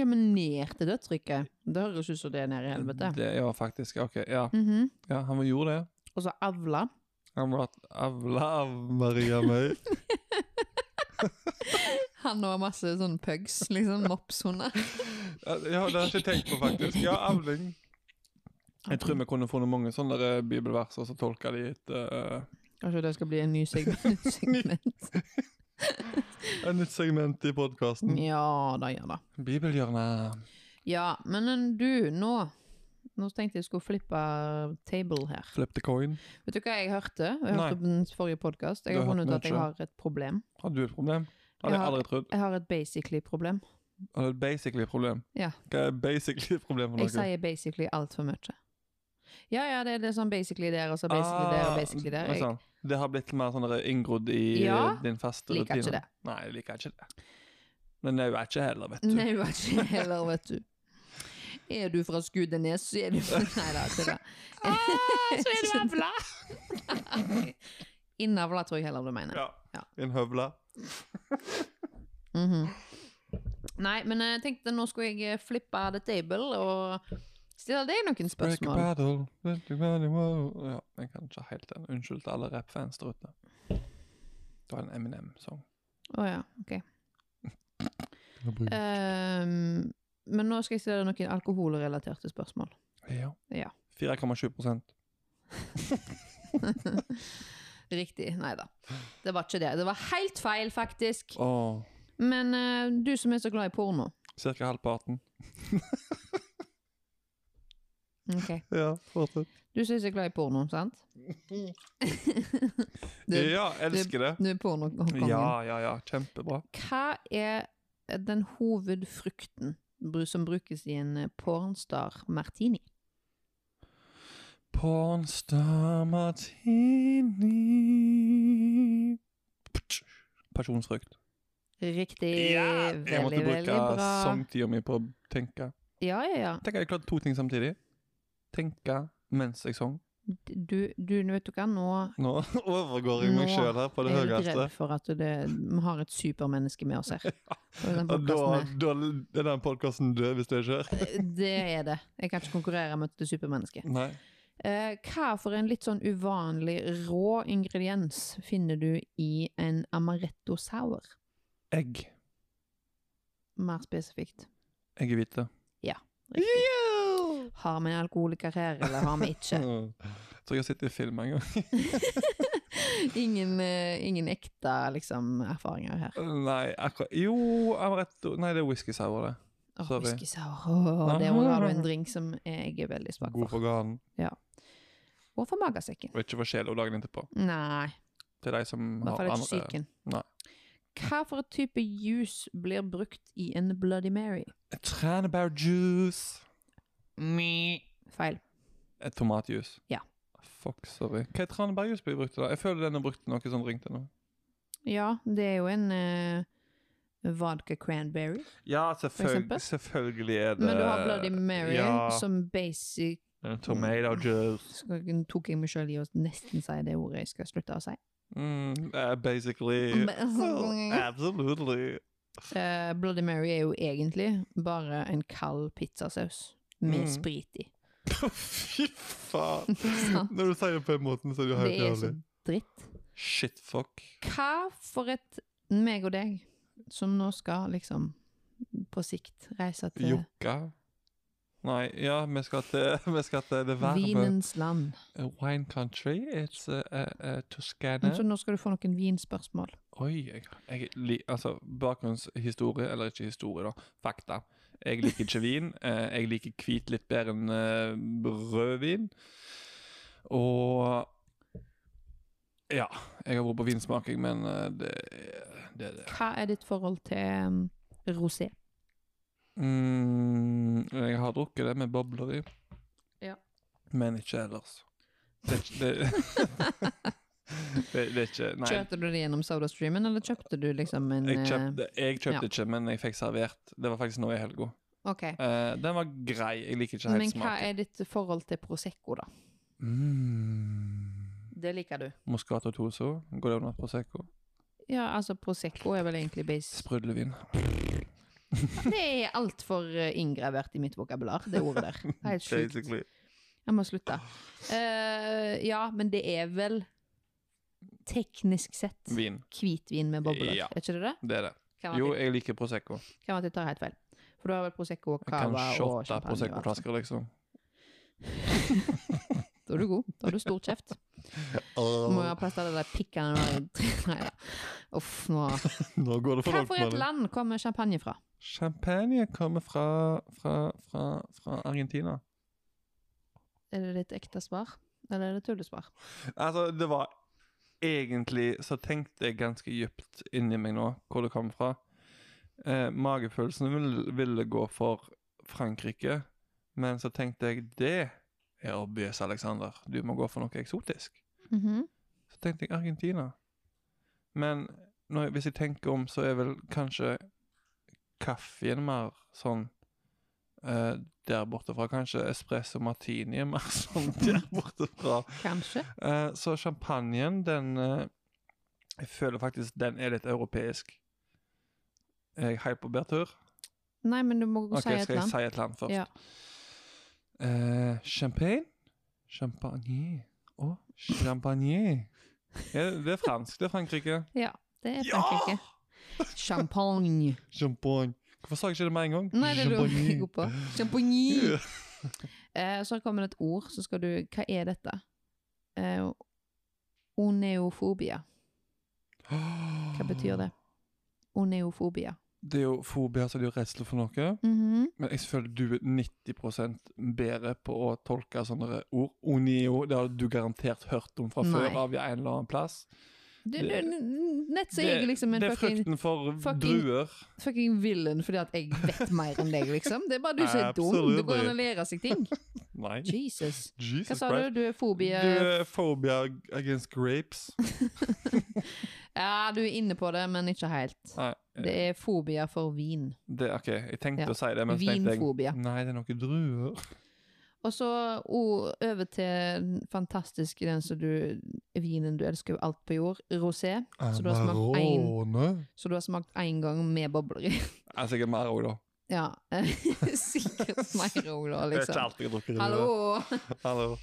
Speaker 2: Ja, men ned til dødsrykket. Det høres ut som det er ned i helvete.
Speaker 1: Det, ja, faktisk. Ok, ja.
Speaker 2: Mhm.
Speaker 1: ja han gjorde det.
Speaker 2: Og så avla.
Speaker 1: Han ble avla av Maria Møy.
Speaker 2: Han og masse sånne pugs, liksom. Mopshunder.
Speaker 1: Ja, det har jeg ikke tenkt på, faktisk. Ja, avling. Jeg tror vi kunne funnet mange sånne der eh, bibelvers og så tolka de et, eh,
Speaker 2: Kanskje det skal bli en ny segment. segment.
Speaker 1: et nytt segment i podkasten.
Speaker 2: Ja da, ja da.
Speaker 1: Bibelhjørnet.
Speaker 2: Ja, men eh, du, nå Nå tenkte jeg skulle flippe table her.
Speaker 1: Flip the coin.
Speaker 2: Vet du hva jeg hørte? Jeg
Speaker 1: Nei.
Speaker 2: hørte på den forrige podkast. Jeg
Speaker 1: Du
Speaker 2: har
Speaker 1: har
Speaker 2: funnet ut
Speaker 1: hørt
Speaker 2: at jeg
Speaker 1: mye.
Speaker 2: har et problem.
Speaker 1: Har du et problem? Hadde jeg
Speaker 2: Ja.
Speaker 1: aldri trodd.
Speaker 2: Jeg har et basically-problem.
Speaker 1: Har du et basically problem?
Speaker 2: Ja.
Speaker 1: Hva er basically problem for
Speaker 2: Jeg
Speaker 1: noe?
Speaker 2: sier basically altfor mye. Ja, ja, det er det sånn basically der, og så basically der, og basically der.
Speaker 1: Ah,
Speaker 2: Jeg
Speaker 1: sånn. Det har blitt mer sånn der inngrodd i
Speaker 2: Ja,
Speaker 1: din faste
Speaker 2: liker
Speaker 1: rutine.
Speaker 2: ikke det.
Speaker 1: Nei, jeg liker ikke det. Men det er jo ikke heller, vet du.
Speaker 2: Nei, hun er ikke heller, vet du. Er du fra Skudenes, så er du fra Nei da, tulla. Ah, Så er du avla! Innavla tror jeg heller du mener.
Speaker 1: Ja.
Speaker 2: Ja.
Speaker 1: En høvla.
Speaker 2: Mhm. Nei, men jeg tenkte nå skulle jeg eh, flippe the table og stille deg noen
Speaker 1: Break a
Speaker 2: spørsmål.
Speaker 1: paddle, break a paddle. Ja, jeg kan ikke helt den. Unnskyld til alle rappfans der ute. Det var en Eminem-sang.
Speaker 2: Å ja, ok. Ehm, men nå skal jeg stille deg noen alkoholrelaterte spørsmål.
Speaker 1: Ja.
Speaker 2: Eh, Ja.
Speaker 1: 4,7 prosent.
Speaker 2: Riktig. Nei da. Det var ikke det. Det var helt feil, faktisk.
Speaker 1: Åh,
Speaker 2: Men eh, du som er så glad i porno
Speaker 1: cirka halvparten.
Speaker 2: Ok.
Speaker 1: Ja, fortsett.
Speaker 2: Du som er så glad i porno, sant? Du,
Speaker 1: Ja, elsker det.
Speaker 2: du er pornokongen.
Speaker 1: Ja, ja, ja. Kjempebra.
Speaker 2: Hva er den hovedfrukten bru- som brukes i en eh, pornstar martini?
Speaker 1: Pornstar martini Ptsj. Pasjonsfrukt.
Speaker 2: Riktig.
Speaker 1: jeg måtte
Speaker 2: veldig, veldig
Speaker 1: bruke
Speaker 2: bra.
Speaker 1: sangtida mi på å tenke.
Speaker 2: Ja, ja, ja.
Speaker 1: Tenk at jeg klarte to ting samtidig. Tenke mens jeg sang.
Speaker 2: Du, du, vet du hva, nå
Speaker 1: Nå overgår jeg meg
Speaker 2: Nå
Speaker 1: sjøl her på det
Speaker 2: er jeg litt
Speaker 1: høyeste.
Speaker 2: redd for at det, vi har et supermenneske med oss her. Og den
Speaker 1: Ja, Da,
Speaker 2: podcasten her.
Speaker 1: da er den podkasten død hvis du ikke hører.
Speaker 2: Det er det. Jeg kan ikke konkurrere med det supermennesket.
Speaker 1: Nei.
Speaker 2: Eh, hva for en litt sånn uvanlig rå ingrediens finner du i en amaretto sour?
Speaker 1: Egg.
Speaker 2: Mer spesifikt.
Speaker 1: Egg i hvite.
Speaker 2: Riktig. Har vi en alkoholiker her, eller har vi ikke?
Speaker 1: Mm. Så jeg har sett det i film en gang.
Speaker 2: Ingen, eh, ingen ekte liksom, erfaringer her.
Speaker 1: Nei, akkurat Jo, amaretto Nei, det er whisky sour, det.
Speaker 2: Åh,
Speaker 1: Sorry.
Speaker 2: whisky sour. Åh, det må være en drink som jeg er veldig svak
Speaker 1: God
Speaker 2: for.
Speaker 1: for ganen.
Speaker 2: Og for magesekken.
Speaker 1: Og ikke for sjela dagen etterpå.
Speaker 2: Nei,
Speaker 1: Til de som
Speaker 2: i hvert
Speaker 1: har Eh,
Speaker 2: fall ikke
Speaker 1: andre
Speaker 2: psyken.
Speaker 1: Nei.
Speaker 2: Hva for et type juice blir brukt i en Bloody Mary?
Speaker 1: Tranebærjuice.
Speaker 2: Feil.
Speaker 1: Et tomatjuice.
Speaker 2: Ja.
Speaker 1: Fuck, sorry. Hva er tranebærjuice blir brukt til? da? Jeg føler den har brukt til noe sånn ring til nå.
Speaker 2: Ja, det er jo en eh, vodka cranberry.
Speaker 1: Ja,
Speaker 2: eksempel?
Speaker 1: selvfølgelig er det
Speaker 2: Men du har Bloody Mary
Speaker 1: ja.
Speaker 2: som basic
Speaker 1: Tomato juice.
Speaker 2: skal, Tok jeg meg sjøl i å nesten si det ordet jeg skal slutte å si.
Speaker 1: Mm, eh, basically.
Speaker 2: Basically.
Speaker 1: Absolutely.
Speaker 2: Eh, Bloody Mary er jo egentlig bare en kald pizzasaus med
Speaker 1: Mm.
Speaker 2: sprit i.
Speaker 1: Fy faen.
Speaker 2: Sant.
Speaker 1: Når du sier det på den måten, så er det jo
Speaker 2: Det
Speaker 1: helt
Speaker 2: er sånn- så
Speaker 1: jævlig.
Speaker 2: dritt.
Speaker 1: Shit, fuck.
Speaker 2: Hva for et meg og deg som nå skal liksom på sikt reise til
Speaker 1: Jokka. Nei, ja, vi skal til, vi skal til det varme
Speaker 2: vinens land.
Speaker 1: A wine country. It's uh, uh, uh, Toscana.
Speaker 2: Så nå skal du få noen vinspørsmål.
Speaker 1: Oi, jeg, jeg li, altså bakgrunnshistorie, eller ikke historie da, fakta. Jeg liker ikke vin. Eh, jeg liker hvit litt bedre enn eh, rødvin. Og ja, jeg har vært på vinsmaking, men eh, det er- det. er det.
Speaker 2: Hva er ditt forhold til um, rosé?
Speaker 1: Mm, jeg har drukket det med bobler i,
Speaker 2: Ja.
Speaker 1: men ikke ellers. Det, er ikke- det, Det, det er ikke Nei.
Speaker 2: Kjørte du det gjennom SodaStreamen, eller kjøpte du liksom en
Speaker 1: Jeg
Speaker 2: eh,
Speaker 1: kjøpte, jeg kjøpte
Speaker 2: ja.
Speaker 1: ikke, men jeg fikk servert. Det var faktisk nå i helga.
Speaker 2: Ok.
Speaker 1: Eh, den var grei. Jeg liker ikke helt
Speaker 2: Men hva
Speaker 1: smaken.
Speaker 2: er ditt forhold til Prosecco, da?
Speaker 1: Mm.
Speaker 2: Det liker du.
Speaker 1: Moscato Toso. Går det an med Prosecco?
Speaker 2: Ja, altså Prosecco er vel egentlig base
Speaker 1: Sprudlevin.
Speaker 2: Det er altfor inngravert i mitt vokabular, det ordet der. Det er helt sjukt.
Speaker 1: Basically.
Speaker 2: Jeg må slutte. Eh, ja, men det er vel teknisk sett
Speaker 1: Vin.
Speaker 2: hvitvin med bobler,
Speaker 1: Ja.
Speaker 2: er ikke det det?
Speaker 1: Det er det.
Speaker 2: Kan
Speaker 1: Jo,
Speaker 2: være at
Speaker 1: jeg liker Prosecco.
Speaker 2: jeg- kan være at jeg tar helt feil. For da har vel Prosecco og
Speaker 1: Jeg kan
Speaker 2: Cava og
Speaker 1: shotte
Speaker 2: champagne. og alt sånt.
Speaker 1: Prosecco-flasker, liksom.
Speaker 2: Da er du god. Da har du stor kjeft. Må jo ha plass til alle de pikkene der. Nei da. Uff, nå
Speaker 1: Nå går det
Speaker 2: Hva for et
Speaker 1: med det.
Speaker 2: land kommer champagne fra?
Speaker 1: Champagne kommer fra, fra, fra, fra Argentina.
Speaker 2: Er det ditt ekte svar, eller er det tullesvar?
Speaker 1: Altså, det var egentlig Så tenkte jeg ganske dypt inni meg nå hvor det kom fra. Eh, magefølelsen ville, ville gå for Frankrike, men så tenkte jeg det er obvious, Alexander. Du må gå for noe eksotisk.
Speaker 2: Mhm.
Speaker 1: Så tenkte jeg Argentina. Men når, hvis jeg tenker om, så er vel kanskje kaffen mer sånn eh, der borte fra. Kanskje espresso martini er mer sånn der borte fra.
Speaker 2: Kanskje.
Speaker 1: Eh, så champagnen, den eh, Jeg føler faktisk den er litt europeisk. Er jeg helt på bærtur?
Speaker 2: Nei, men du må
Speaker 1: Ok,
Speaker 2: si et
Speaker 1: skal jeg
Speaker 2: land.
Speaker 1: si et land først?
Speaker 2: Ja.
Speaker 1: Eh, champagne? Champagne Å, champagne. Ja, det er fransk. Det er Frankrike.
Speaker 2: Det er
Speaker 1: Ja!
Speaker 2: Frankrike. Champagne.
Speaker 1: Champagne. Hvorfor sa jeg ikke det med en gang?
Speaker 2: Nei, det er du ikke god på. Champagne.
Speaker 1: Ja.
Speaker 2: Eh, så kommer det et ord, så skal du Hva er dette? Eh, oneofobia. Hva betyr det? Oneofobia.
Speaker 1: Det er jo fobi, altså det er jo redsel for noe.
Speaker 2: Mhm.
Speaker 1: Men jeg føler du er 90 bedre på å tolke sånne ord. Onio, det har du garantert hørt om fra
Speaker 2: Nei.
Speaker 1: før av i en eller annen plass.
Speaker 2: Du,
Speaker 1: Det-
Speaker 2: du, n- nett så jeg er liksom en
Speaker 1: det er
Speaker 2: fucking,
Speaker 1: frykten for
Speaker 2: fucking-
Speaker 1: druer.
Speaker 2: fucking villain fordi at jeg vet mer enn deg, liksom. Det er bare du som er dum. Det går an å lære seg ting.
Speaker 1: Nei.
Speaker 2: Jesus.
Speaker 1: Jesus
Speaker 2: Hva sa du? Du er fobi... eh,
Speaker 1: Du er phobia against grapes.
Speaker 2: Ja, du er inne på det, men ikke helt.
Speaker 1: Nei, eh,
Speaker 2: Det er fobia for vin.
Speaker 1: det, ok, jeg tenkte
Speaker 2: Ja.
Speaker 1: å si det, men så tenkte jeg
Speaker 2: Vinfobia.
Speaker 1: Nei, det er noen druer.
Speaker 2: Og så o- over til den fantastiske den som du Vinen du elsker jo alt på jord, rosé. Så du har smakt en- Så du har smakt én gang med bobler i.
Speaker 1: Det Altså, er sikkert mer òg, da.
Speaker 2: Ja. Sikkert mer òg, da,
Speaker 1: Det er ikke
Speaker 2: liksom.
Speaker 1: alltid jeg drukker druer.
Speaker 2: Hallo!
Speaker 1: Hallo.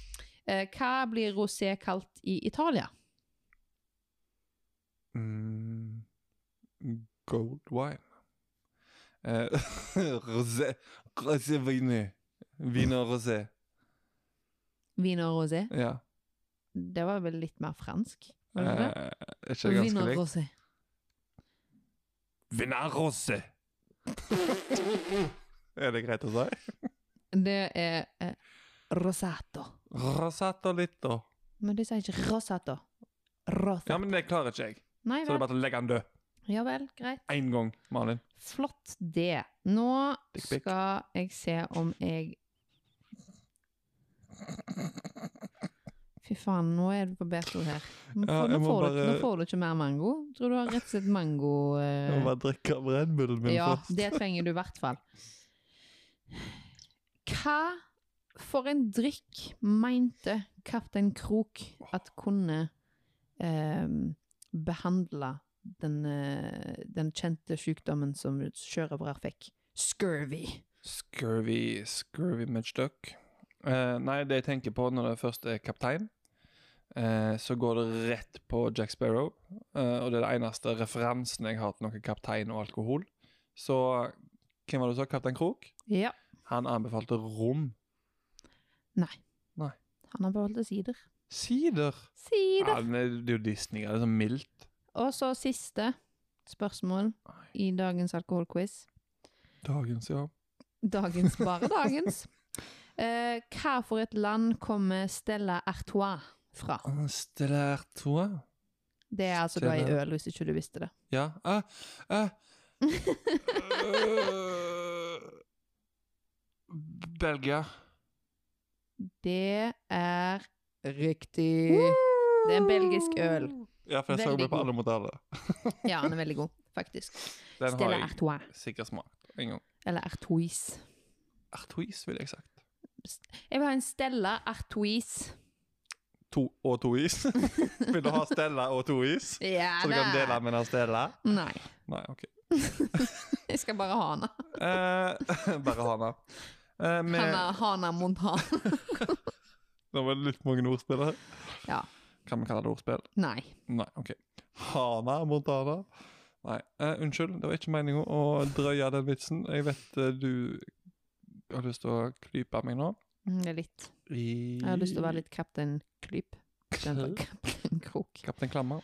Speaker 2: Eh, Hva blir rosé kalt i Italia?
Speaker 1: Mm, gold wine. Eh, rosé Rosé vine. Viner rosé.
Speaker 2: Vin og rosé?
Speaker 1: Ja.
Speaker 2: Det var vel litt mer fransk?
Speaker 1: Eh,
Speaker 2: var det ikke det?
Speaker 1: er ikke det ganske
Speaker 2: Vin og
Speaker 1: likt?
Speaker 2: rosé.
Speaker 1: Viner rosé! er det greit å si?
Speaker 2: Det er eh, rosato.
Speaker 1: Rosato litto.
Speaker 2: Men de sier ikke rosato. Rosato.
Speaker 1: Ja, men det klarer ikke jeg.
Speaker 2: Nei
Speaker 1: Så det
Speaker 2: vel.
Speaker 1: er bare å legge den død.
Speaker 2: Ja vel, greit.
Speaker 1: Én gang, Malin.
Speaker 2: Flott det. Nå
Speaker 1: Dick pic.
Speaker 2: skal jeg se om jeg Fy faen, nå er du på beto her. Nå
Speaker 1: Ja,
Speaker 2: får,
Speaker 1: jeg
Speaker 2: nå,
Speaker 1: må
Speaker 2: får du,
Speaker 1: bare-
Speaker 2: nå får du ikke mer mango. Tror du har rett og slett mango eh,
Speaker 1: Jeg må bare drikke av Red Bullen min
Speaker 2: Ja,
Speaker 1: først.
Speaker 2: det trenger du i hvert fall. Hva for en drikk mente kaptein Krok at kunne eh, behandle den, eh, den kjente sykdommen som sjørøvere fikk? Scurvy.
Speaker 1: Scurvy, scurvy mudstuck. Eh, nei, det jeg tenker på når det først er kaptein, eh, så går det rett på Jack Sparrow. eh, og det er det eneste referansen jeg har til noe kaptein og alkohol. Så hvem var det du sa? Kaptein Krok?
Speaker 2: Ja.
Speaker 1: Han anbefalte rom.
Speaker 2: Han har beholdt sider.
Speaker 1: Sider!
Speaker 2: Sider!
Speaker 1: Ja, men det det er jo Disney, det er så mildt.
Speaker 2: Og så siste spørsmål i dagens alkoholquiz.
Speaker 1: Dagens, ja.
Speaker 2: Dagens, bare dagens. Eh, hva for et land kommer Stella Artois fra?
Speaker 1: Stellar Tour.
Speaker 2: Det er altså da i
Speaker 1: Stella.
Speaker 2: øl, hvis ikke du visste det.
Speaker 1: Ja. Eh, eh. Eh, Belgia.
Speaker 2: Det er riktig. Det er en belgisk øl.
Speaker 1: Ja, for jeg så
Speaker 2: Veldig
Speaker 1: det på
Speaker 2: god.
Speaker 1: alle modeller.
Speaker 2: Ja, den er veldig god, faktisk.
Speaker 1: Den har
Speaker 2: Stella
Speaker 1: jeg
Speaker 2: Artois.
Speaker 1: sikkert smakt en gang.
Speaker 2: Eller Artois.
Speaker 1: Artois, ville jeg sagt.
Speaker 2: Jeg vil ha en Stella Artois.
Speaker 1: To og to is. Vil du ha Stella og to is?
Speaker 2: Ja
Speaker 1: Så du kan dele med den Stella?
Speaker 2: Nei.
Speaker 1: Nei, OK.
Speaker 2: Jeg skal bare ha henne.
Speaker 1: Eh, bare hana. Eh, med,
Speaker 2: Hanna, Hana Montan.
Speaker 1: det var litt mange ordspill her.
Speaker 2: Ja.
Speaker 1: Kan vi kalle det ordspill?
Speaker 2: Nei.
Speaker 1: Nei, OK. Hana Montana? Nei, eh, unnskyld. Det var ikke meninga å drøye den vitsen. Jeg vet eh, du har lyst til å klype meg nå.
Speaker 2: Mm, Det er litt.
Speaker 1: I...
Speaker 2: Jeg har lyst til å være litt Kaptein Klyp. Istedenfor Kaptein Krok.
Speaker 1: Kaptein Klammer.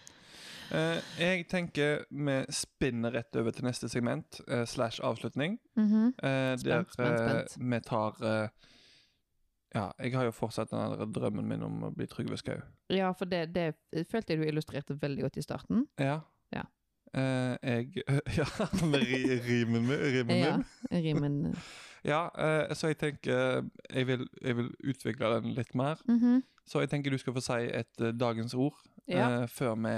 Speaker 1: Eh, jeg tenker vi spinner rett over til neste segment, eh, slash avslutning.
Speaker 2: Mhm.
Speaker 1: Eh, der
Speaker 2: Spent, spent,
Speaker 1: eh,
Speaker 2: spent.
Speaker 1: vi tar eh, Ja, jeg har jo fortsatt den andre drømmen min om å bli Trygve Skau.
Speaker 2: Ja, for det, det følte jeg du illustrerte veldig godt i starten.
Speaker 1: Ja.
Speaker 2: Ja.
Speaker 1: Eh, jeg Ja, med ri, rimen min. Rimen
Speaker 2: Ja,
Speaker 1: min.
Speaker 2: rimen
Speaker 1: Ja, eh, så jeg tenker jeg vil, jeg vil utvikle den litt mer.
Speaker 2: Mhm.
Speaker 1: Så jeg tenker du skal få si et eh, dagens ord
Speaker 2: Ja.
Speaker 1: eh, før vi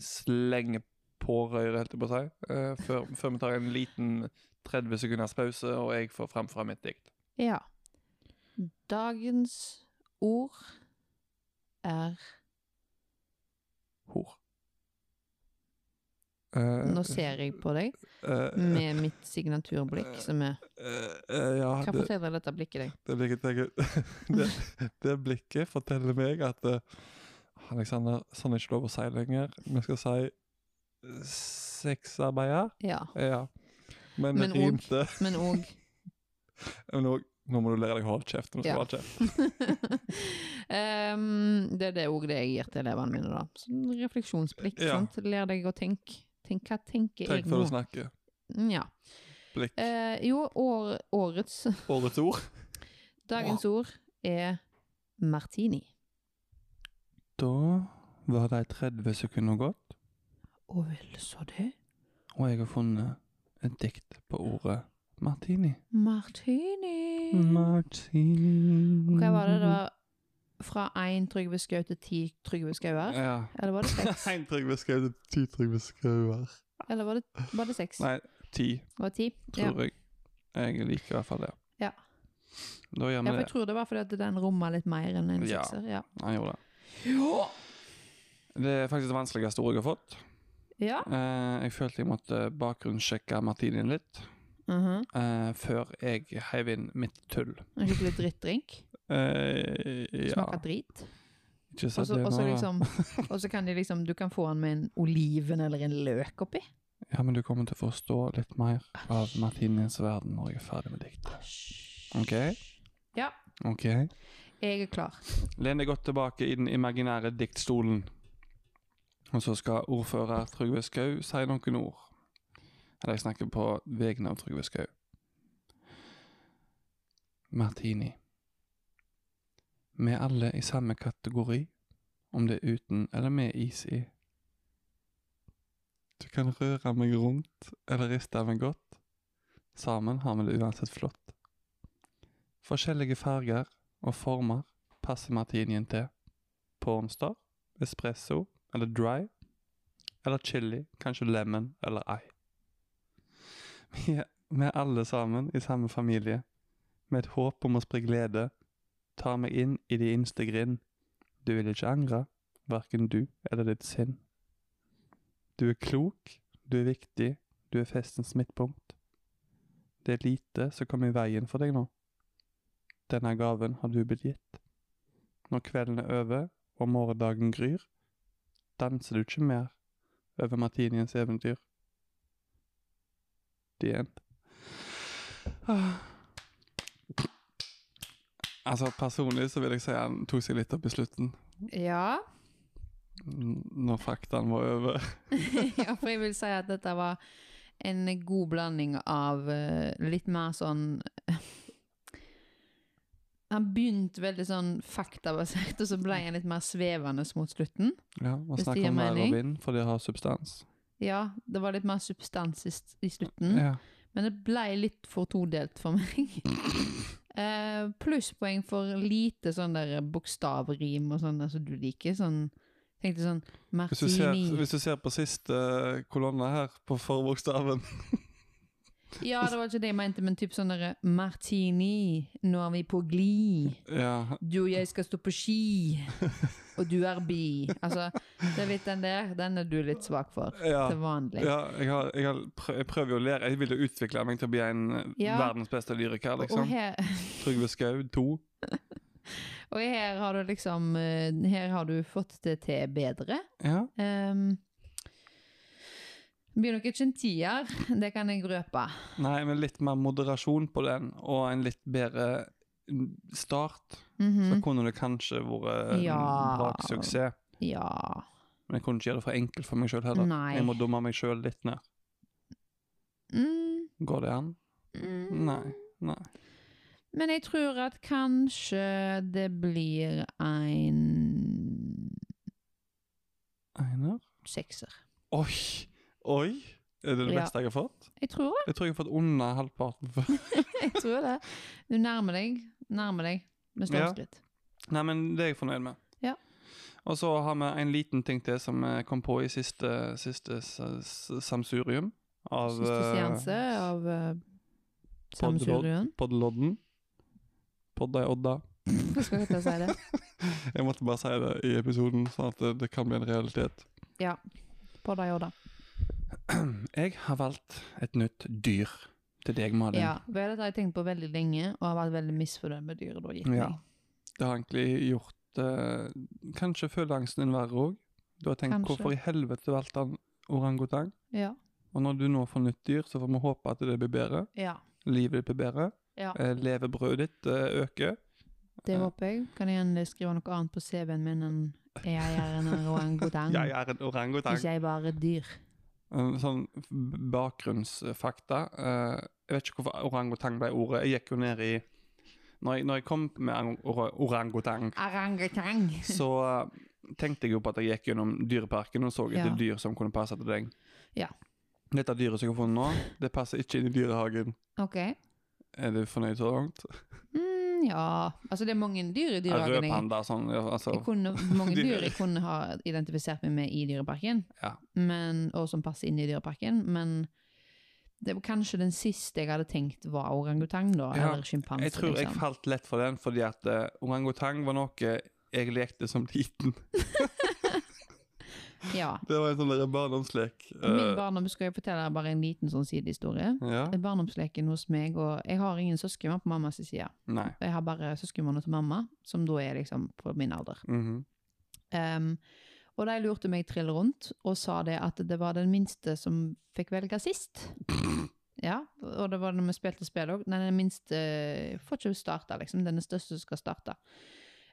Speaker 1: slenger på røret, holdt jeg på å si. Eh, før, før vi tar en liten 30 sekunders pause, og jeg får framføre mitt dikt.
Speaker 2: ja. Dagens ord er
Speaker 1: Hor. Eh,
Speaker 2: Nå ser jeg på deg
Speaker 1: eh,
Speaker 2: med mitt signaturblikk som er
Speaker 1: eh, eh, ja,
Speaker 2: Hva
Speaker 1: det,
Speaker 2: forteller dette blikket deg?
Speaker 1: det, blikket, tenker- det, det blikket forteller meg at eh, Alexander, sånn er ikke lov å si lenger. Vi skal si eh, sexarbeider.
Speaker 2: Ja.
Speaker 1: Ja. Men,
Speaker 2: Men
Speaker 1: det
Speaker 2: og-
Speaker 1: rimte.
Speaker 2: Men òg
Speaker 1: Men og, nå må du lære deg å holde kjeft. Nå skal
Speaker 2: Ja.
Speaker 1: du holde kjeft.
Speaker 2: Ehm, Det er det ordet jeg gir til elevene mine, da. Sånn refleksjonsblikk.
Speaker 1: Ja.
Speaker 2: Sant? Lær deg å tenke. Tenk, hva tenker
Speaker 1: Tenk
Speaker 2: jeg
Speaker 1: før
Speaker 2: nå?
Speaker 1: du snakker.
Speaker 2: Mm, Ja.
Speaker 1: Blikk.
Speaker 2: Eh, jo, år, årets
Speaker 1: Årets ord.
Speaker 2: Dagens ord er martini.
Speaker 1: Da var de 30 sekunder gått,
Speaker 2: Og vel så det.
Speaker 1: og jeg har funnet et dikt på ordet martini.
Speaker 2: Martini.
Speaker 1: Martini
Speaker 2: Mm. Hva var det? Det var fra én Trygve Skau til ti Trygve Skauer?
Speaker 1: Ja.
Speaker 2: Eller var det seks?
Speaker 1: Én Trygve Skau til ti Trygve Skauer.
Speaker 2: Eller var det, var det seks?
Speaker 1: Nei, ti,
Speaker 2: Var det ti? Ja.
Speaker 1: tror jeg. Jeg liker i hvert fall det.
Speaker 2: Ja.
Speaker 1: Da gjør
Speaker 2: Ja,
Speaker 1: vi
Speaker 2: for
Speaker 1: det.
Speaker 2: jeg tror det var fordi at den romma litt mer enn en
Speaker 1: Ja.
Speaker 2: sekser. Ja.
Speaker 1: Han gjorde det. Det er faktisk det vanskeligste ordet jeg har fått.
Speaker 2: ja.
Speaker 1: Eh, jeg følte jeg måtte bakgrunnssjekke Martinien litt
Speaker 2: Mhm.
Speaker 1: eh, før jeg heiv inn mitt tull.
Speaker 2: En skikkelig drittdrink.
Speaker 1: Eh, ja.
Speaker 2: Smaker drit.
Speaker 1: Ikke
Speaker 2: Og
Speaker 1: så
Speaker 2: så
Speaker 1: det
Speaker 2: og så
Speaker 1: var-
Speaker 2: liksom, og så kan de liksom Du kan få den med en oliven eller en løk oppi.
Speaker 1: Ja, men du kommer til å forstå litt mer av Martiniens verden når jeg er ferdig med diktet. Ok.
Speaker 2: Ja,
Speaker 1: Ok.
Speaker 2: jeg er klar.
Speaker 1: Len deg godt tilbake i den imaginære diktstolen. Og så skal ordfører Trygve Skau si noen ord. Eller jeg snakker på vegne av Trygve Skau. Martini. Vi er alle i samme kategori, om det er uten eller med is i. Du kan røre meg rundt eller riste meg godt. Sammen har vi det uansett flott. Forskjellige farger og former passer martinien til? Pornstar, espresso eller dry? Eller chili, kanskje lemon eller ei? Vi er, vi er alle sammen i samme familie, med et håp om å spre glede. Ta meg inn i de innste grind. Du vil ikke angre, hverken du eller ditt sinn. Du er klok, du er viktig, du er festens midtpunkt. Det er lite som kommer i veien for deg nå. Denne gaven har du blitt gitt. Når kvelden er over og morgendagen gryr, danser du ikke mer over Martiniens eventyr. The end. Ah. Altså, personlig så vil jeg si han tok seg litt opp i slutten,
Speaker 2: Ja.
Speaker 1: n- når faktaen var over.
Speaker 2: ja, for jeg vil si at dette var en god blanding av eh, litt mer sånn Han begynte veldig sånn faktabasert, og så ble han litt mer svevende mot slutten.
Speaker 1: Ja, Man
Speaker 2: Hvis det
Speaker 1: snakker
Speaker 2: gir
Speaker 1: om vær og
Speaker 2: mening.
Speaker 1: vind, for det har substans.
Speaker 2: Ja, det var litt mer substans i, s- i slutten,
Speaker 1: Ja.
Speaker 2: men det ble litt for todelt for meg. Eh, Plusspoeng for lite sånn der bokstavrim og sånn der som du altså, liker. Sånn Tenkte sånn
Speaker 1: Hvis du ser,
Speaker 2: Martini.
Speaker 1: hvis du ser på siste kolonne her, på forbokstaven
Speaker 2: Ja, det var ikke det jeg mente, men typ sånn derre Martini, nå er vi på glid.
Speaker 1: Ja,
Speaker 2: Du og jeg skal stå på ski, og du er bi. Altså, det er litt den der. Den er du litt svak for.
Speaker 1: ja.
Speaker 2: Til vanlig.
Speaker 1: Ja, jeg, har, jeg, har prø jeg prøver jo å lære. Jeg vil jo utvikle meg til å bli en eh,
Speaker 2: Ja.
Speaker 1: verdens beste lyriker.
Speaker 2: Og
Speaker 1: liksom.
Speaker 2: her,
Speaker 1: Trygve Skau 2.
Speaker 2: og her har du liksom eh, Her har du fått det til bedre.
Speaker 1: Ja.
Speaker 2: Um, blir nok ikke en tier, det kan jeg røpe.
Speaker 1: Nei, men litt mer moderasjon på den, og en litt bedre mm, start. Så
Speaker 2: Mhm.
Speaker 1: kunne det kanskje vært en
Speaker 2: Ja.
Speaker 1: braksuksess.
Speaker 2: Ja.
Speaker 1: Men jeg kunne ikke gjøre det for enkelt for meg sjøl heller.
Speaker 2: Nei.
Speaker 1: Jeg må dumme meg sjøl litt ned.
Speaker 2: Mm,
Speaker 1: Går det an?
Speaker 2: mm.
Speaker 1: Nei. Nei.
Speaker 2: Men jeg tror at kanskje det blir en
Speaker 1: Einar?
Speaker 2: sekser.
Speaker 1: Oi! Oi! Er det det
Speaker 2: Ja.
Speaker 1: beste jeg har fått?
Speaker 2: Jeg tror det.
Speaker 1: Jeg tror jeg har fått under halvparten. før.
Speaker 2: jeg tror det. Du nærmer deg. Nærmer deg med stormskritt.
Speaker 1: Nei, men det er jeg fornøyd med.
Speaker 2: Ja.
Speaker 1: Og så har vi en liten ting til som vi kom på i siste, siste s- s- samsurium. Av eh,
Speaker 2: Siste seanse av uh,
Speaker 1: Podd-
Speaker 2: Samsurien.
Speaker 1: Podlodden. Podda i Odda.
Speaker 2: Hva skal jeg til å si det?
Speaker 1: Jeg måtte bare si det i episoden, sånn at det, det kan bli en realitet.
Speaker 2: Ja. Podda jorda.
Speaker 1: Jeg har valgt et nytt dyr til deg, Malin.
Speaker 2: Ja, for dette har jeg tenkt på veldig lenge, og har vært veldig misfornøyd med dyret. da, gitt meg.
Speaker 1: Ja. Det har egentlig gjort eh, Kanskje føleangsten din verre òg. Du har tenkt
Speaker 2: Kanskje.
Speaker 1: hvorfor i helvete valgte han orangutang?
Speaker 2: Ja.
Speaker 1: Og når du nå får nytt dyr, så får vi håpe at det blir bedre.
Speaker 2: ja.
Speaker 1: Livet ditt blir bedre.
Speaker 2: Ja.
Speaker 1: Eh, levebrødet ditt eh, øker.
Speaker 2: Det håper jeg. Kan jeg gjerne skrive noe annet på CV-en min enn jeg er en orangutang.
Speaker 1: Jeg er en orangutang.
Speaker 2: Ikke jeg bare et dyr.
Speaker 1: Eh, Sånn f- bakgrunnsfakta. Eh, jeg vet ikke hvorfor orangutang ble ordet. Jeg gikk jo ned i Når jeg, når jeg kom med ang- or orangutang,
Speaker 2: Orangutang.
Speaker 1: så eh, tenkte jeg jo på at jeg gikk gjennom dyreparken og så etter
Speaker 2: Ja.
Speaker 1: dyr som kunne passe til deg.
Speaker 2: Ja.
Speaker 1: Dette dyret som jeg har funnet nå, det passer ikke inn i dyrehagen.
Speaker 2: Ok.
Speaker 1: Er du fornøyd så langt?
Speaker 2: Mm, ja. Altså, det er mange dyr i
Speaker 1: Ja, Rød
Speaker 2: dyrehagen. jeg-
Speaker 1: panda, sånn. ja, Altså,
Speaker 2: Jeg kunne, mange
Speaker 1: Dyr.
Speaker 2: dyr jeg kunne ha identifisert meg med i dyreparken,
Speaker 1: Ja.
Speaker 2: men, og som passer inn i dyreparken, men det var kanskje den siste jeg hadde tenkt var orangutang, da,
Speaker 1: Ja,
Speaker 2: eller sjimpanse.
Speaker 1: Jeg tror jeg
Speaker 2: liksom.
Speaker 1: falt lett for den, fordi at eh, orangutang var noe jeg lekte som liten.
Speaker 2: Ja.
Speaker 1: Det var en sånn der barndomslek.
Speaker 2: Min barndom skal jeg fortelle bare en liten sånn sidehistorie.
Speaker 1: Eh, ja?
Speaker 2: Barndomsleken hos meg, og jeg har ingen søsken på mammas side.
Speaker 1: Nei.
Speaker 2: Jeg har bare søskenbarna til mamma, som da er liksom på min alder.
Speaker 1: Mhm.
Speaker 2: Ehm, og de lurte meg trill rundt og sa det at det var den minste som fikk velge sist. Ja, og det var når vi spilte spill òg. Nei, den minste får ikke starte, liksom. Den er største som skal starte.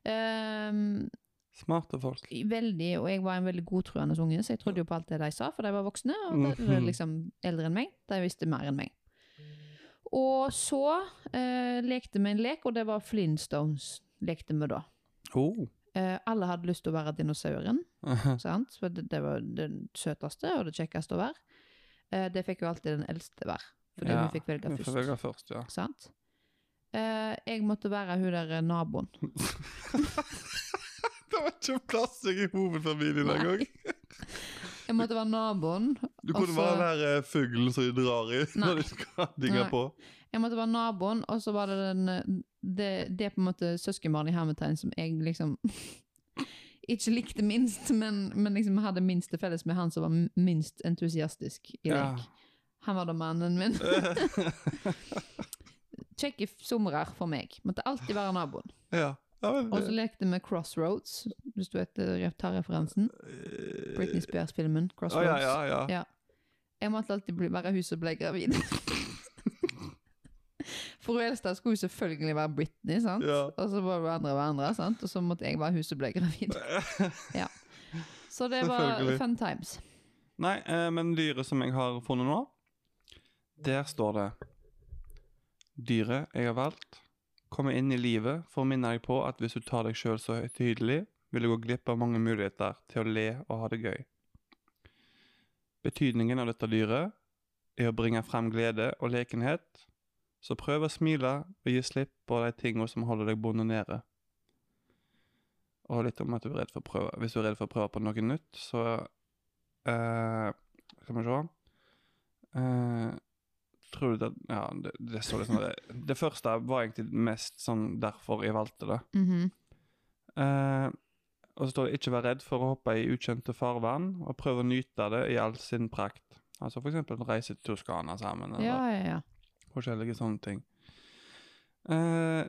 Speaker 2: Ehm,
Speaker 1: Smarte folk.
Speaker 2: veldig, og jeg var en veldig godtroende unge, så jeg trodde jo på alt det de sa, for de var voksne og de var
Speaker 1: Mhm.
Speaker 2: liksom eldre enn meg. De visste mer enn meg. Og så eh, lekte vi en lek, og det var Flintstones lekte vi da.
Speaker 1: Oh.
Speaker 2: Eh, alle hadde lyst til å være dinosauren. Sant? For det, det var det søteste og det kjekkeste å være. Eh, det fikk jo alltid den eldste være, fordi
Speaker 1: Ja,
Speaker 2: vi fikk velge
Speaker 1: Vi får
Speaker 2: først.
Speaker 1: velge først, ja.
Speaker 2: Sant? Eh, jeg måtte være hun der eh, naboen.
Speaker 1: Det var ikke plass jeg i hovedfamilien
Speaker 2: Nei. Jeg måtte være naboen.
Speaker 1: Du
Speaker 2: kunne være den
Speaker 1: der uh, fuglen som de drar i
Speaker 2: Altså- Nei.
Speaker 1: du skal
Speaker 2: digge Nei. Jeg måtte være naboen, og så var det den eh, Det, det er på en måte søskenbarnet i hermetegn som jeg liksom ikke likte minst, men, men liksom hadde minst til felles med han som var m- minst entusiastisk i
Speaker 1: Ja.
Speaker 2: lek. Han var da mannen min. Kjekke somrer for meg. Måtte alltid være naboen.
Speaker 1: ja. ja men,
Speaker 2: Og så lekte vi Crossroads, hvis du vet, eh, tar referansen.
Speaker 1: eh,
Speaker 2: Britney Spears-filmen
Speaker 1: Å, ja,
Speaker 2: Crossroads.
Speaker 1: ja, ja.
Speaker 2: Ja. Jeg måtte alltid bli, være hun som ble gravid. For hun eldste skulle jo selvfølgelig være Britney, sant?
Speaker 1: Ja.
Speaker 2: og så var hun andre og andre, sant? og så måtte jeg være hun som ble gravid. Så det var
Speaker 1: Selvfølgelig.
Speaker 2: fun times.
Speaker 1: Nei, eh, men dyret som jeg har funnet nå, der står det Dyret jeg har valgt, kommer inn i livet for å minne deg på at hvis du tar deg sjøl så høytidelig, vil du gå glipp av mange muligheter til å le og ha det gøy. Betydningen av dette dyret er å bringe fram glede og lekenhet, så prøv å smile og gi slipp på de tinga som holder deg bundet nede. og litt om at du er redd for å prøve. Hvis du er redd for å prøve på noe nytt, så eh, Skal vi se Eh, Tror du det Ja, det, det så litt sånn det, det første var egentlig mest sånn derfor jeg valgte det.
Speaker 2: Mhm.
Speaker 1: Eh, og så står det 'ikke vær redd for å hoppe i ukjente farvann', og prøv å nyte det i all sin prakt. Altså for eksempel reise til Toskana sammen, eller
Speaker 2: Ja, ja, ja.
Speaker 1: forskjellige sånne ting. Eh,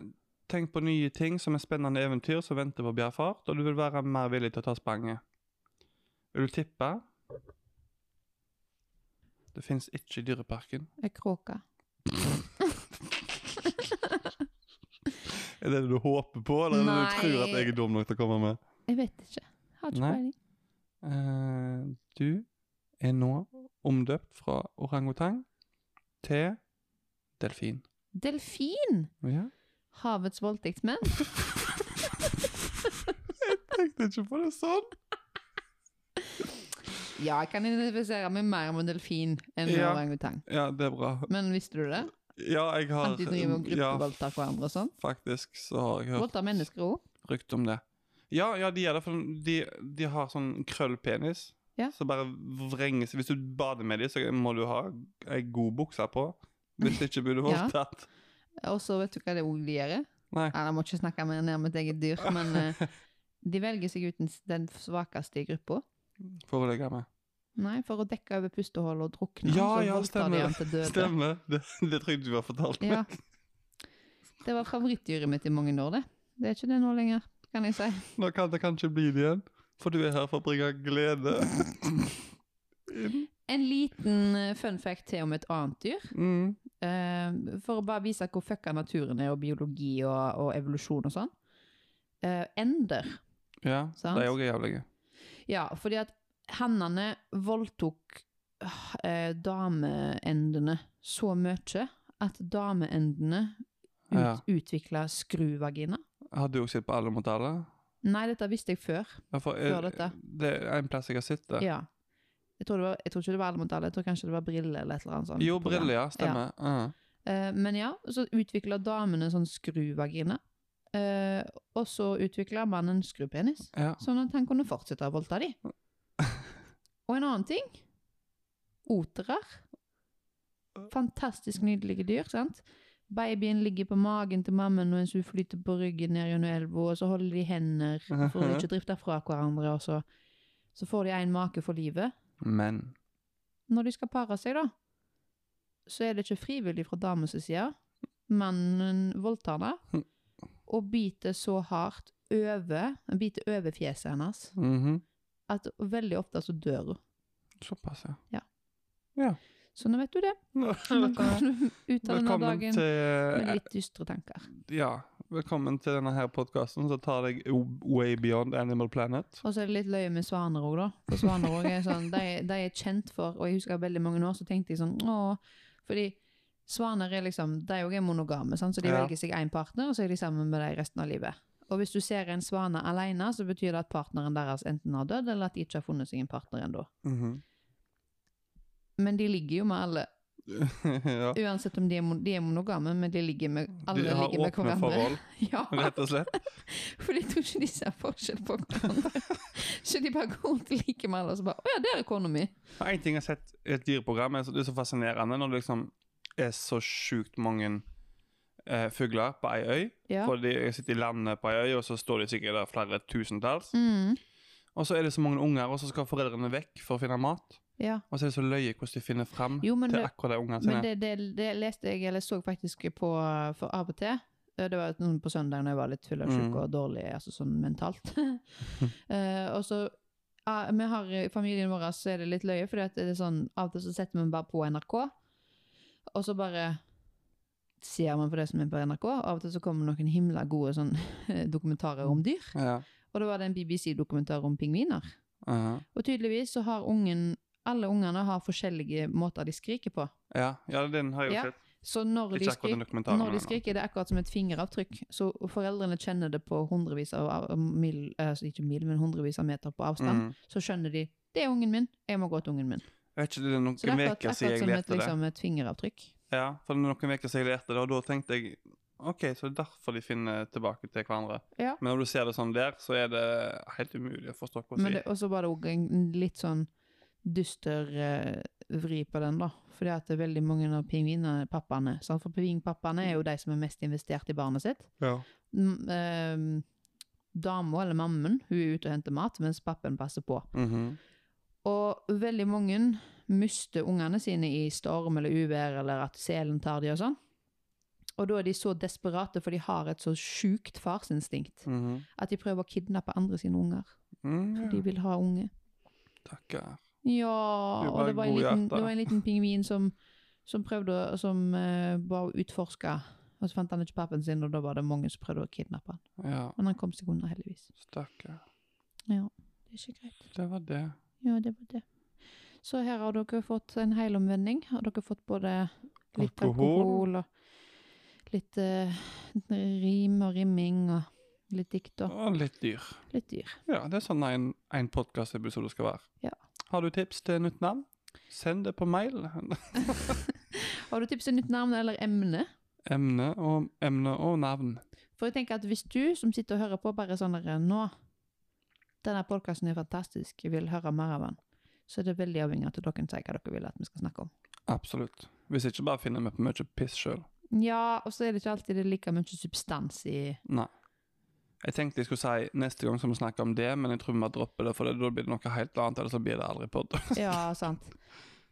Speaker 1: tenk på nye ting som er spennende eventyr som venter på bjergfart, og du vil være mer villig til å ta spranget. Vil du tippe? Det fins ikke i Dyreparken.
Speaker 2: Ei kråke.
Speaker 1: Er det det du håper på, eller er det det du tror at
Speaker 2: Nei.
Speaker 1: jeg er dum nok til å komme med?
Speaker 2: Jeg vet ikke. Har ikke
Speaker 1: Nei.
Speaker 2: peiling.
Speaker 1: Eh, du er nå omdøpt fra orangutang til delfin.
Speaker 2: Delfin!
Speaker 1: Ja.
Speaker 2: Havets voldtektsmenn.
Speaker 1: Tenkte ikke på det sånn.
Speaker 2: Ja, jeg kan identifisere meg mer med delfin enn med
Speaker 1: Ja.
Speaker 2: orangutang.
Speaker 1: Ja, det er bra.
Speaker 2: Men visste du det?
Speaker 1: Ja, jeg har
Speaker 2: At de driver og
Speaker 1: ja,
Speaker 2: gruppevoldtar hverandre og sånn?
Speaker 1: Faktisk så har jeg hørt
Speaker 2: Voldtar mennesker òg?
Speaker 1: rykte om det. Ja, ja, de gjør det, for de, de har sånn krøllpenis.
Speaker 2: Ja.
Speaker 1: Så bare vrenges Hvis du bader med dem, så må du ha ei god bukse på. Hvis ikke blir du
Speaker 2: Ja.
Speaker 1: voldtatt.
Speaker 2: Og så vet du hva det òg de gjør?
Speaker 1: Nei.
Speaker 2: Ja, Jeg må ikke snakke mer ned om mitt eget dyr, men eh, de velger seg ut den s- den svakeste i gruppa.
Speaker 1: Får jeg legge meg.
Speaker 2: Nei, for å dekke over pustehull og drukne.
Speaker 1: Ja,
Speaker 2: så
Speaker 1: ja,
Speaker 2: voldtar de
Speaker 1: stemmer.
Speaker 2: han til døde.
Speaker 1: Stemmer. Det, det tror jeg du har fortalt meg.
Speaker 2: Ja. Det var favorittdyret mitt i mange år, det. Det er ikke det nå lenger, kan jeg si.
Speaker 1: Nå kan det kanskje bli det igjen, for du er her for å bringe glede.
Speaker 2: En liten eh, fun fact til om et annet dyr.
Speaker 1: Mm.
Speaker 2: eh, for å bare vise hvor fucka naturen er, og biologi og, og evolusjon og sånn. Eh, ender.
Speaker 1: Ja,
Speaker 2: Sant.
Speaker 1: de er òg jævlige.
Speaker 2: Ja, fordi at hannene voldtok eh, dameendene så mye at dameendene ut,
Speaker 1: Ja.
Speaker 2: utvikla skruvagina.
Speaker 1: Har du òg sett på Alle mot alle?
Speaker 2: Nei, dette visste jeg før.
Speaker 1: Ja, for, eh,
Speaker 2: Før dette.
Speaker 1: Det er en plass jeg har sett det.
Speaker 2: Ja. Jeg tror, det var, jeg tror ikke det var alle mot alle, jeg tror kanskje det var briller eller et eller annet sånt.
Speaker 1: Jo,
Speaker 2: program.
Speaker 1: briller, ja. Stemmer. Ja.
Speaker 2: Eh, men ja, så utvikla damene sånn skruvagina, eh, og så utvikla mannen skrupenis,
Speaker 1: Ja.
Speaker 2: sånn at han kunne fortsette å voldta de. Og en annen ting Oterer. Fantastisk nydelige dyr, sant? Babyen ligger på magen til mammaen mens hun flyter på ryggen ned gjennom elva, og så holder de hender for å ikke drifte fra hverandre, og så, så får de en make for livet
Speaker 1: Men
Speaker 2: når de skal pare seg, da, så er det ikke frivillig fra damens side. Mannen voldtar henne og biter så hardt over, han biter over fjeset hennes
Speaker 1: mhm.
Speaker 2: at veldig ofte så dør hun.
Speaker 1: Såpass, ja.
Speaker 2: Så nå vet du det. Nå går du ut av denne
Speaker 1: Velkommen
Speaker 2: dagen med
Speaker 1: til eh,
Speaker 2: litt dystre tanker.
Speaker 1: Ja. Velkommen til denne her podkasten som tar deg way beyond Animal Planet.
Speaker 2: Og så er det litt løye med svaner òg, da. For svaner også er sånn, de, de er kjent for Og jeg husker veldig mange år, så tenkte jeg sånn Åh, fordi svaner er liksom De òg er monogame, sant? så de
Speaker 1: Ja.
Speaker 2: velger seg én partner, og så er de sammen med dem resten av livet. Og hvis du ser en svane alene, så betyr det at partneren deres enten har dødd, eller at de ikke har funnet seg en partner ennå.
Speaker 1: Mhm.
Speaker 2: Men de ligger jo med alle,
Speaker 1: ja.
Speaker 2: uansett om de er, mon- de er monogame, men de ligger med alle
Speaker 1: De har
Speaker 2: ligger med
Speaker 1: åpne
Speaker 2: hverandre.
Speaker 1: forhold,
Speaker 2: Ja,
Speaker 1: rett og slett.
Speaker 2: for jeg tror ikke de ser forskjell på hverandre. Så de bare går rundt og liker med alle, og så bare Å ja, der er kona mi!
Speaker 1: Og En ting jeg har sett i et dyreprogram, er så, det er så fascinerende når det liksom er så sjukt mange eh, fugler på ei øy.
Speaker 2: Ja.
Speaker 1: For de sitter i landet på ei øy, og så står de sikkert der flere tusentalls.
Speaker 2: Mm,
Speaker 1: Og så er det så mange unger, og så skal foreldrene vekk for å finne mat.
Speaker 2: ja.
Speaker 1: Og så er det så løye hvordan de finner fram
Speaker 2: Jo, men
Speaker 1: til
Speaker 2: det-
Speaker 1: akkurat de ungene sine.
Speaker 2: Men det, det, det leste jeg, eller så faktisk på for av og til. eh, Det var noen på søndag når jeg var litt full av sjuk
Speaker 1: Mm.
Speaker 2: og dårlig, altså sånn mentalt. Eh, og så ah, vi har I familien vår så er det litt løye, for det er sånn, av og til så setter vi bare på NRK, og så bare ser man på det som er på NRK. og Av og til så kommer noen himla gode sånn, dokumentarer om dyr.
Speaker 1: Ja. uh-huh.
Speaker 2: Og da var det en BBC-dokumentar om pingviner.
Speaker 1: Ja.
Speaker 2: Og tydeligvis så har ungen alle ungene har forskjellige måter de skriker på.
Speaker 1: ja, ja, den har jeg jo
Speaker 2: Ja.
Speaker 1: sett.
Speaker 2: Så når de
Speaker 1: Ikke akkurat
Speaker 2: skriker
Speaker 1: den dokumentaren.
Speaker 2: Når de
Speaker 1: men-
Speaker 2: skriker, det er akkurat som et fingeravtrykk. Så foreldrene kjenner det på hundrevis av av mil, altså ikke mil, men hundrevis av meter på avstand.
Speaker 1: Mm.
Speaker 2: Så skjønner de det er ungen min, jeg må gå til ungen min.
Speaker 1: Jeg vet ikke, det er noen
Speaker 2: Så det er akkurat,
Speaker 1: uker siden jeg
Speaker 2: akkurat som et,
Speaker 1: lærte det.
Speaker 2: liksom, et fingeravtrykk.
Speaker 1: Ja, for det er noen uker siden jeg lærte det, og da tenkte jeg OK, så det er derfor de finner tilbake til hverandre.
Speaker 2: Ja.
Speaker 1: Men når du ser det sånn der, så er det helt umulig å forstå hva
Speaker 2: Men
Speaker 1: hun
Speaker 2: det, og så var det òg en litt sånn dyster eh, vri på den, da. Fordi at det er veldig mange av pingvinpappaene sant? For pingvinpappaene er jo de som er mest investert i barnet sitt.
Speaker 1: Ja.
Speaker 2: Mm, ehm, Dama eller mammen hun er ute og henter mat, mens pappen passer på.
Speaker 1: Mhm.
Speaker 2: Og veldig mange mister ungene sine i storm eller uvær, eller at selen tar de og sånn. Og da er de så desperate, for de har et så sjukt farsinstinkt,
Speaker 1: Mhm.
Speaker 2: at de prøver å kidnappe andre sine unger.
Speaker 1: Mm,
Speaker 2: For de vil ha unge.
Speaker 1: Takker.
Speaker 2: Ja,
Speaker 1: Du
Speaker 2: og det
Speaker 1: bare
Speaker 2: var en
Speaker 1: god
Speaker 2: liten,
Speaker 1: hjerte.
Speaker 2: det var en liten pingvin som, som prøvde å- som eh, var og utforska. Og så fant han ikke pappen sin, og da var det mange som prøvde å kidnappe han.
Speaker 1: Ja.
Speaker 2: Men han kom seg unna, heldigvis.
Speaker 1: Stakkar.
Speaker 2: Det er ikke greit.
Speaker 1: Det var det.
Speaker 2: Ja, det var det. Så her har dere fått en helomvending. Har dere fått både litt alkohol, og litt eh, rim og rimming og litt dikt og
Speaker 1: Og litt dyr.
Speaker 2: litt dyr.
Speaker 1: Ja, det er sånn en, en podkastepisode skal være.
Speaker 2: Ja.
Speaker 1: Har du tips til nytt navn? Send det på mail.
Speaker 2: Har du tips til nytt navn eller emne?
Speaker 1: Emne og, emne og navn.
Speaker 2: For jeg tenker at hvis du som sitter og hører på, bare er sånn der nå Denne podkasten er fantastisk, jeg vil høre mer av den. Så er det veldig avhengig av at dere sier hva dere vil at vi skal snakke om.
Speaker 1: Absolutt. Hvis ikke bare finner vi på mye piss sjøl.
Speaker 2: Ja, og så er det ikke alltid det er like mye substans i
Speaker 1: Nei. Jeg tenkte jeg skulle si neste gang skal vi snakke om det, men jeg tror vi bare dropper det, for det, da blir det noe helt annet, eller så blir det aldri pod.
Speaker 2: Ja, sant.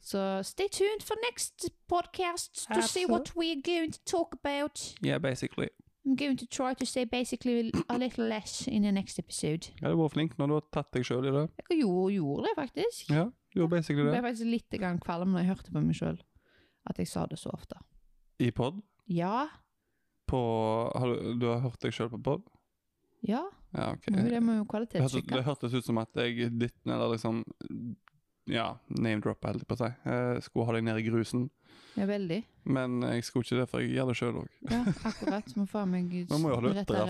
Speaker 2: Så stay tuned for next podcast to see what we're going to talk about.
Speaker 1: yeah, basically.
Speaker 2: I'm going to try to say basically a little less in the next episode.
Speaker 1: Ja, du har vært flink når du har tatt deg sjøl i det.
Speaker 2: Jeg jo, gjorde det faktisk.
Speaker 1: Ja, du gjorde basically
Speaker 2: Jeg
Speaker 1: det.
Speaker 2: ble faktisk litt grann kvalm når jeg hørte på meg sjøl at jeg sa det så ofte.
Speaker 1: I pod.
Speaker 2: Ja,
Speaker 1: På har du, du har hørt deg sjøl på pod?
Speaker 2: ja.
Speaker 1: Ja, OK.
Speaker 2: Men det må jo
Speaker 1: Det hørtes,
Speaker 2: kvalitetssjekke.
Speaker 1: det hørtes ut som at jeg dytten, eller liksom Ja, name-droppa, holdt jeg på å si. Jeg skulle ha deg ned i grusen.
Speaker 2: Ja, veldig.
Speaker 1: Men jeg skulle ikke det, for jeg gjør det sjøl òg.
Speaker 2: Ja, akkurat. Må faen meg
Speaker 1: Man må jo ha lyttere